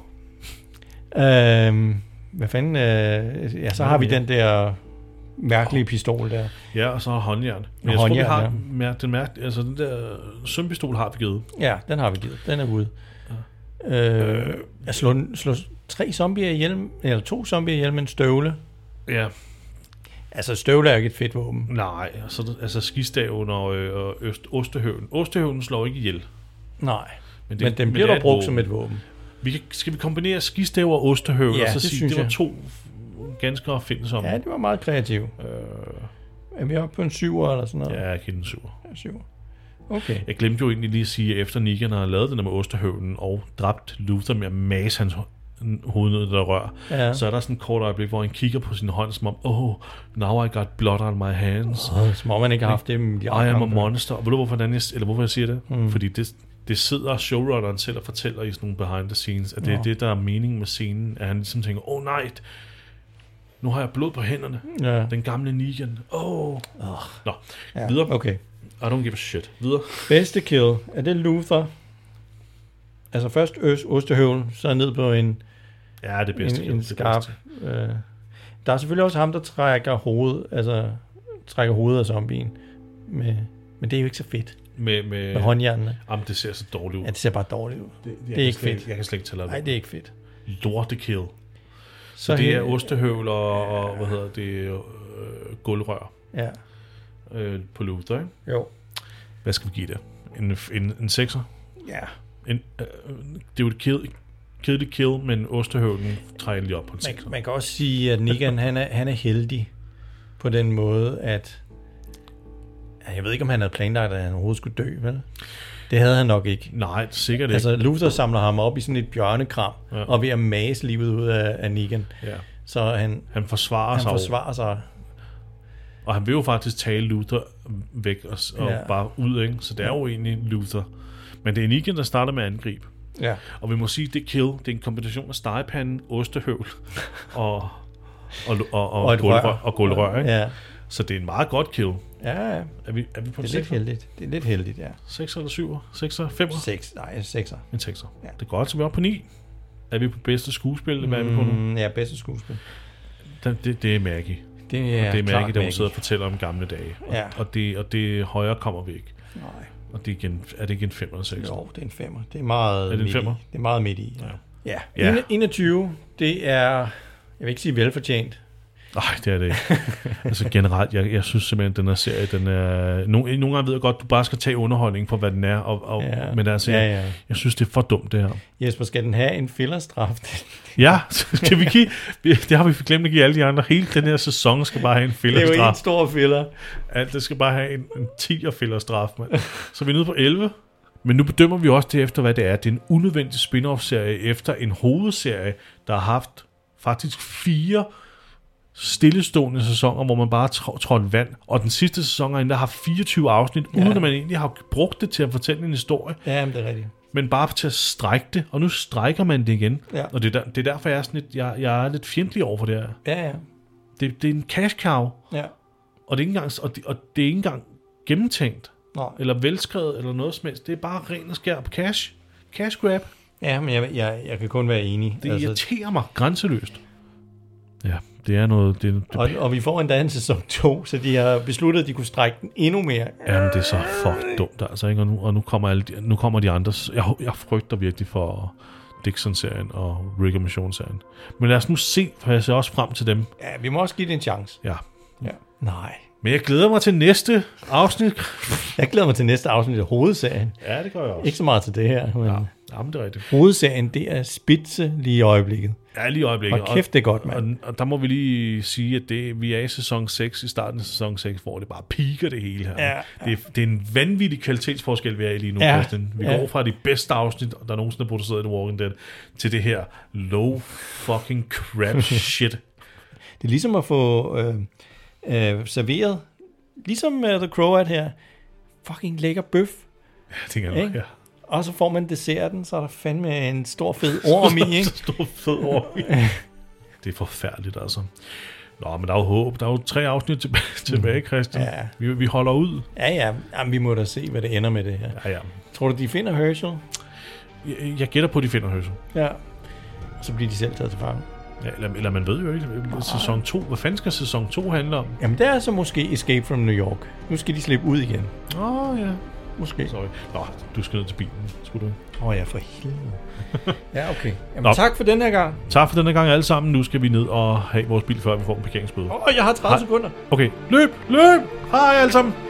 [SPEAKER 2] Øhm, hvad fanden? Øh, ja, så har vi
[SPEAKER 1] ja.
[SPEAKER 2] den der mærkelige pistol der.
[SPEAKER 1] Ja, og så har håndjern. Men
[SPEAKER 2] Og
[SPEAKER 1] jeg tror, vi
[SPEAKER 2] håndjern,
[SPEAKER 1] har
[SPEAKER 2] ja.
[SPEAKER 1] mærkt, den mærkt, altså den der sømpistol har vi givet.
[SPEAKER 2] Ja, den har vi givet. Den er ude. Øh, jeg slår, slår tre zombier ihjel, eller to zombier ihjel med en støvle.
[SPEAKER 1] Ja,
[SPEAKER 2] Altså, støvle er jo ikke et fedt våben.
[SPEAKER 1] nej, og så, altså skistaven og, øh, og øst, ostehøven. Ostehøven slår ikke ihjel.
[SPEAKER 2] Nej. Men,
[SPEAKER 1] Men
[SPEAKER 2] det,
[SPEAKER 1] det-
[SPEAKER 2] men den
[SPEAKER 1] men
[SPEAKER 2] bliver
[SPEAKER 1] det er
[SPEAKER 2] dog
[SPEAKER 1] et
[SPEAKER 2] brugt
[SPEAKER 1] våben.
[SPEAKER 2] som et våben.
[SPEAKER 1] Vi kan, skal vi kombinere skistav og ostehøven,
[SPEAKER 2] Ja,
[SPEAKER 1] og så
[SPEAKER 2] det
[SPEAKER 1] sige,
[SPEAKER 2] synes
[SPEAKER 1] det var
[SPEAKER 2] jeg.
[SPEAKER 1] to ganske opfindsomme.
[SPEAKER 2] Ja,
[SPEAKER 1] Ja,
[SPEAKER 2] det var meget kreativt. Øh. Er vi oppe på en syver eller sådan noget?
[SPEAKER 1] ja jeg kan den sur.
[SPEAKER 2] En syver. Okay.
[SPEAKER 1] Jeg glemte jo egentlig lige at sige, at efter Negan har lavet den der med ostehøvnen og dræbt Luther med at mase hans ho- hovednød, der rør,
[SPEAKER 2] Ja.
[SPEAKER 1] så er der sådan et kort øjeblik, hvor han kigger på sin hånd, som om, oh, now I got blood on my hands.
[SPEAKER 2] Som om man ikke har haft det med de
[SPEAKER 1] I
[SPEAKER 2] andre
[SPEAKER 1] am a
[SPEAKER 2] kampe.
[SPEAKER 1] monster. Og ved du, hvorfor, hvordan jeg, eller hvorfor jeg siger det? Mm. Fordi det, det sidder showrunneren selv og fortæller i sådan nogle behind the scenes, at det er det, der er meningen med scenen, at han ligesom tænker, oh nej, nu har jeg blod på hænderne.
[SPEAKER 2] Ja.
[SPEAKER 1] Den gamle Negan. Oh. oh. Nå,
[SPEAKER 2] Ja.
[SPEAKER 1] videre.
[SPEAKER 2] Okay.
[SPEAKER 1] I don't give a shit. Videre.
[SPEAKER 2] Bedste kill. Er det Luther? Altså først Øs Ostehøvlen, så ned på en,
[SPEAKER 1] Ja, det er bedste.
[SPEAKER 2] en, en
[SPEAKER 1] det er
[SPEAKER 2] skarp.
[SPEAKER 1] bedste.
[SPEAKER 2] Øh. Der er selvfølgelig også ham, der trækker hovedet, altså trækker hovedet af zombien. Med, men det er jo ikke så fedt
[SPEAKER 1] Med, med,
[SPEAKER 2] med håndjernene.
[SPEAKER 1] Jamen, det ser så dårligt ud.
[SPEAKER 2] Ja, det ser bare dårligt ud.
[SPEAKER 1] det,
[SPEAKER 2] er ikke fedt.
[SPEAKER 1] Jeg kan slet ikke tælle op.
[SPEAKER 2] Nej, det er ikke fedt.
[SPEAKER 1] Lortekill.
[SPEAKER 2] Så
[SPEAKER 1] Så det
[SPEAKER 2] he-
[SPEAKER 1] er ostehøvl og, og hvad hedder det, øh, gulvrør
[SPEAKER 2] Ja.
[SPEAKER 1] øh, på Luther, ikke?
[SPEAKER 2] Jo.
[SPEAKER 1] Hvad skal vi give det? En, en, en sekser?
[SPEAKER 2] Ja.
[SPEAKER 1] En, øh, det er jo et ked, kedeligt kill, men Osterhøvlen trækker lige op på en sekser.
[SPEAKER 2] Man, man kan også sige, at Negan han er, han er heldig på den måde, at ja, jeg ved ikke, om han havde planlagt, at han overhovedet skulle dø, vel? Det havde han nok ikke.
[SPEAKER 1] Nej, sikkert ikke.
[SPEAKER 2] Altså, Luther samler ham op i sådan et bjørnekram, ja.
[SPEAKER 1] Ja.
[SPEAKER 2] og er ved at mase livet ud af, af Negan.
[SPEAKER 1] ja.
[SPEAKER 2] Så han,
[SPEAKER 1] Han forsvarer
[SPEAKER 2] han
[SPEAKER 1] sig jo,
[SPEAKER 2] forsvarer sig.
[SPEAKER 1] og han vil jo faktisk tale Luther væk og, s- og
[SPEAKER 2] Ja.
[SPEAKER 1] ja. bare ud, ikke? så det er jo egentlig Luther. Men det er Negan, der starter med at angribe.
[SPEAKER 2] Ja.
[SPEAKER 1] Og vi må sige, det kill, det er en kombination af stegepanden, ostehøvl og, og, og, og,
[SPEAKER 2] Og
[SPEAKER 1] og,
[SPEAKER 2] et
[SPEAKER 1] gulvrør,
[SPEAKER 2] rør.
[SPEAKER 1] og gulvrør. Ikke?
[SPEAKER 2] Ja.
[SPEAKER 1] Så det er en meget godt kill.
[SPEAKER 2] Ja, ja.
[SPEAKER 1] Er vi, er vi på en
[SPEAKER 2] Det er lidt
[SPEAKER 1] 6
[SPEAKER 2] heldigt. Det er lidt heldigt, ja.
[SPEAKER 1] 6 eller 7? 6 eller 5?
[SPEAKER 2] Seks, nej, sekser.
[SPEAKER 1] En sekser.
[SPEAKER 2] Ja.
[SPEAKER 1] Ja. Det er godt, så vi er oppe på 9. Er vi på bedste skuespil? Hvad er vi på nu?
[SPEAKER 2] Mm, ja, bedste skuespil.
[SPEAKER 1] Det, det, det er Maggie.
[SPEAKER 2] Det er,
[SPEAKER 1] Ja, det er Maggie,
[SPEAKER 2] klart
[SPEAKER 1] der hun sidder og fortæller om gamle dage. Og,
[SPEAKER 2] Ja.
[SPEAKER 1] og, det, og det højere kommer vi ikke.
[SPEAKER 2] Nej.
[SPEAKER 1] Og det er, igen, er det ikke en 5 eller 6?
[SPEAKER 2] Jo, det er en femmer. Det er meget
[SPEAKER 1] Er det en
[SPEAKER 2] midt i.
[SPEAKER 1] femmer?
[SPEAKER 2] Det er meget midt i. Ja. ja.
[SPEAKER 1] Ja.
[SPEAKER 2] En- 21, det er, jeg vil ikke sige velfortjent.
[SPEAKER 1] Nej, det er det ikke. altså generelt, jeg, jeg synes simpelthen, at den her serie, den er... Nogle, nogle gange ved jeg godt, du bare skal tage underholdning for, hvad den er. Og, og,
[SPEAKER 2] Ja.
[SPEAKER 1] ja. Men altså,
[SPEAKER 2] Ja,
[SPEAKER 1] ja,
[SPEAKER 2] ja.
[SPEAKER 1] ja. jeg synes, det er for dumt, det her.
[SPEAKER 2] Jesper, skal den have en fillerstraf?
[SPEAKER 1] Ja, skal vi give... Det har vi glemt at give alle de andre. Hele den her sæson skal bare have en
[SPEAKER 2] det er jo en
[SPEAKER 1] fillerstraf.
[SPEAKER 2] stor filler.
[SPEAKER 1] Alt det skal bare have en, en 10'er fillerstraf, mand. Så vi er nede på 11. Men nu bedømmer vi også det efter, hvad det er. Det er en unødvendig spin-off-serie efter en hovedserie, der har haft faktisk fire stillestående sæsoner, hvor man bare tr- trådte vand. Og den sidste sæson har endda haft 24 afsnit, ja. uden at man egentlig har brugt det til at fortælle en historie,
[SPEAKER 2] Ja, men det er rigtigt.
[SPEAKER 1] men bare til at strække det. Og nu strækker man det igen.
[SPEAKER 2] Ja.
[SPEAKER 1] Og det er, der, det er derfor, jeg er, sådan lidt, jeg, jeg er lidt fjendtlig over for det her.
[SPEAKER 2] Ja, ja.
[SPEAKER 1] Det, det er en cash cow,
[SPEAKER 2] ja.
[SPEAKER 1] og det er ikke engang, og det, og det er ikke engang gennemtænkt
[SPEAKER 2] Nå.
[SPEAKER 1] eller velskrevet, eller noget som helst. Det er bare ren og skær på cash. Cash grab.
[SPEAKER 2] ja men jeg, jeg, jeg kan kun være enig. Altså,
[SPEAKER 1] Det altså, irriterer mig grænseløst. Ja, det Det er noget... Det, det,
[SPEAKER 2] Og, og vi får endda en sæson 2, så de har besluttet, at de kunne strække den endnu mere.
[SPEAKER 1] jamen, det er så fuck dumt, altså. Ikke? Og, nu, og nu, kommer alle de, nu kommer de andre... Jeg, jeg frygter virkelig for Dixon-serien og Rick og Mission-serien. Men lad os nu se, for jeg ser også frem til dem.
[SPEAKER 2] Ja, vi må også give det en chance.
[SPEAKER 1] Ja.
[SPEAKER 2] Ja. Nej.
[SPEAKER 1] Men jeg glæder mig til næste afsnit.
[SPEAKER 2] Jeg glæder mig til næste afsnit af hovedserien.
[SPEAKER 1] Ja, det gør jeg også.
[SPEAKER 2] Ikke så meget til det her, men ja.
[SPEAKER 1] Jamen, det er rigtigt.
[SPEAKER 2] hovedserien, det er spidse lige i øjeblikket.
[SPEAKER 1] Ja, lige i øjeblikket.
[SPEAKER 2] Hold kæft, det er godt, mand.
[SPEAKER 1] og, og der må vi lige sige, at det, vi er i sæson 6, i starten af sæson 6, hvor det bare piker det hele her.
[SPEAKER 2] Ja.
[SPEAKER 1] Det, er- det er en vanvittig kvalitetsforskel, vi er i lige nu,
[SPEAKER 2] Ja.
[SPEAKER 1] Christian. Vi
[SPEAKER 2] Ja.
[SPEAKER 1] går fra de bedste afsnit, der nogensinde er produceret i The Walking Dead, til det her low fucking crap shit.
[SPEAKER 2] Det er ligesom at få øh, øh, serveret, ligesom uh, The Crow her, fucking lækker bøf.
[SPEAKER 1] Jeg tænker,
[SPEAKER 2] Ikke?
[SPEAKER 1] ja.
[SPEAKER 2] Og så får man desserten, så er der fandme en stor fed orm i, ikke?
[SPEAKER 1] Så stor fed over i. Det er forfærdeligt, altså. Nå, men der er jo håb. Der er jo tre afsnit tilbage, tilbage Christian.
[SPEAKER 2] Mm. Ja.
[SPEAKER 1] Vi, vi holder ud.
[SPEAKER 2] Ja, ja. Jamen, vi må da se, hvad det ender med det her.
[SPEAKER 1] Ja, ja.
[SPEAKER 2] Tror du, de finder Herschel?
[SPEAKER 1] Jeg, jeg gætter på, at de finder Høsel.
[SPEAKER 2] Ja. Og så bliver de selv taget til fange.
[SPEAKER 1] Ja, eller, eller man ved jo ikke, øh, sæson 2, hvad fanden skal sæson 2 handle om?
[SPEAKER 2] Jamen, der er så måske Escape from New York. Nu skal de slippe ud igen.
[SPEAKER 1] Åh, oh, ja.
[SPEAKER 2] Måske.
[SPEAKER 1] Sorry. Nå, du skal ned til bilen, skulle du ikke?
[SPEAKER 2] Åh oh, ja, for helvede. ja, okay. Jamen,
[SPEAKER 1] Nå.
[SPEAKER 2] tak for den her gang.
[SPEAKER 1] Tak for denne gang alle sammen. Nu skal vi ned og have vores bil, før vi får en parkeringsbøde.
[SPEAKER 2] Åh, oh, jeg har 30 sekunder.
[SPEAKER 1] Okay, løb, løb! Hej alle sammen!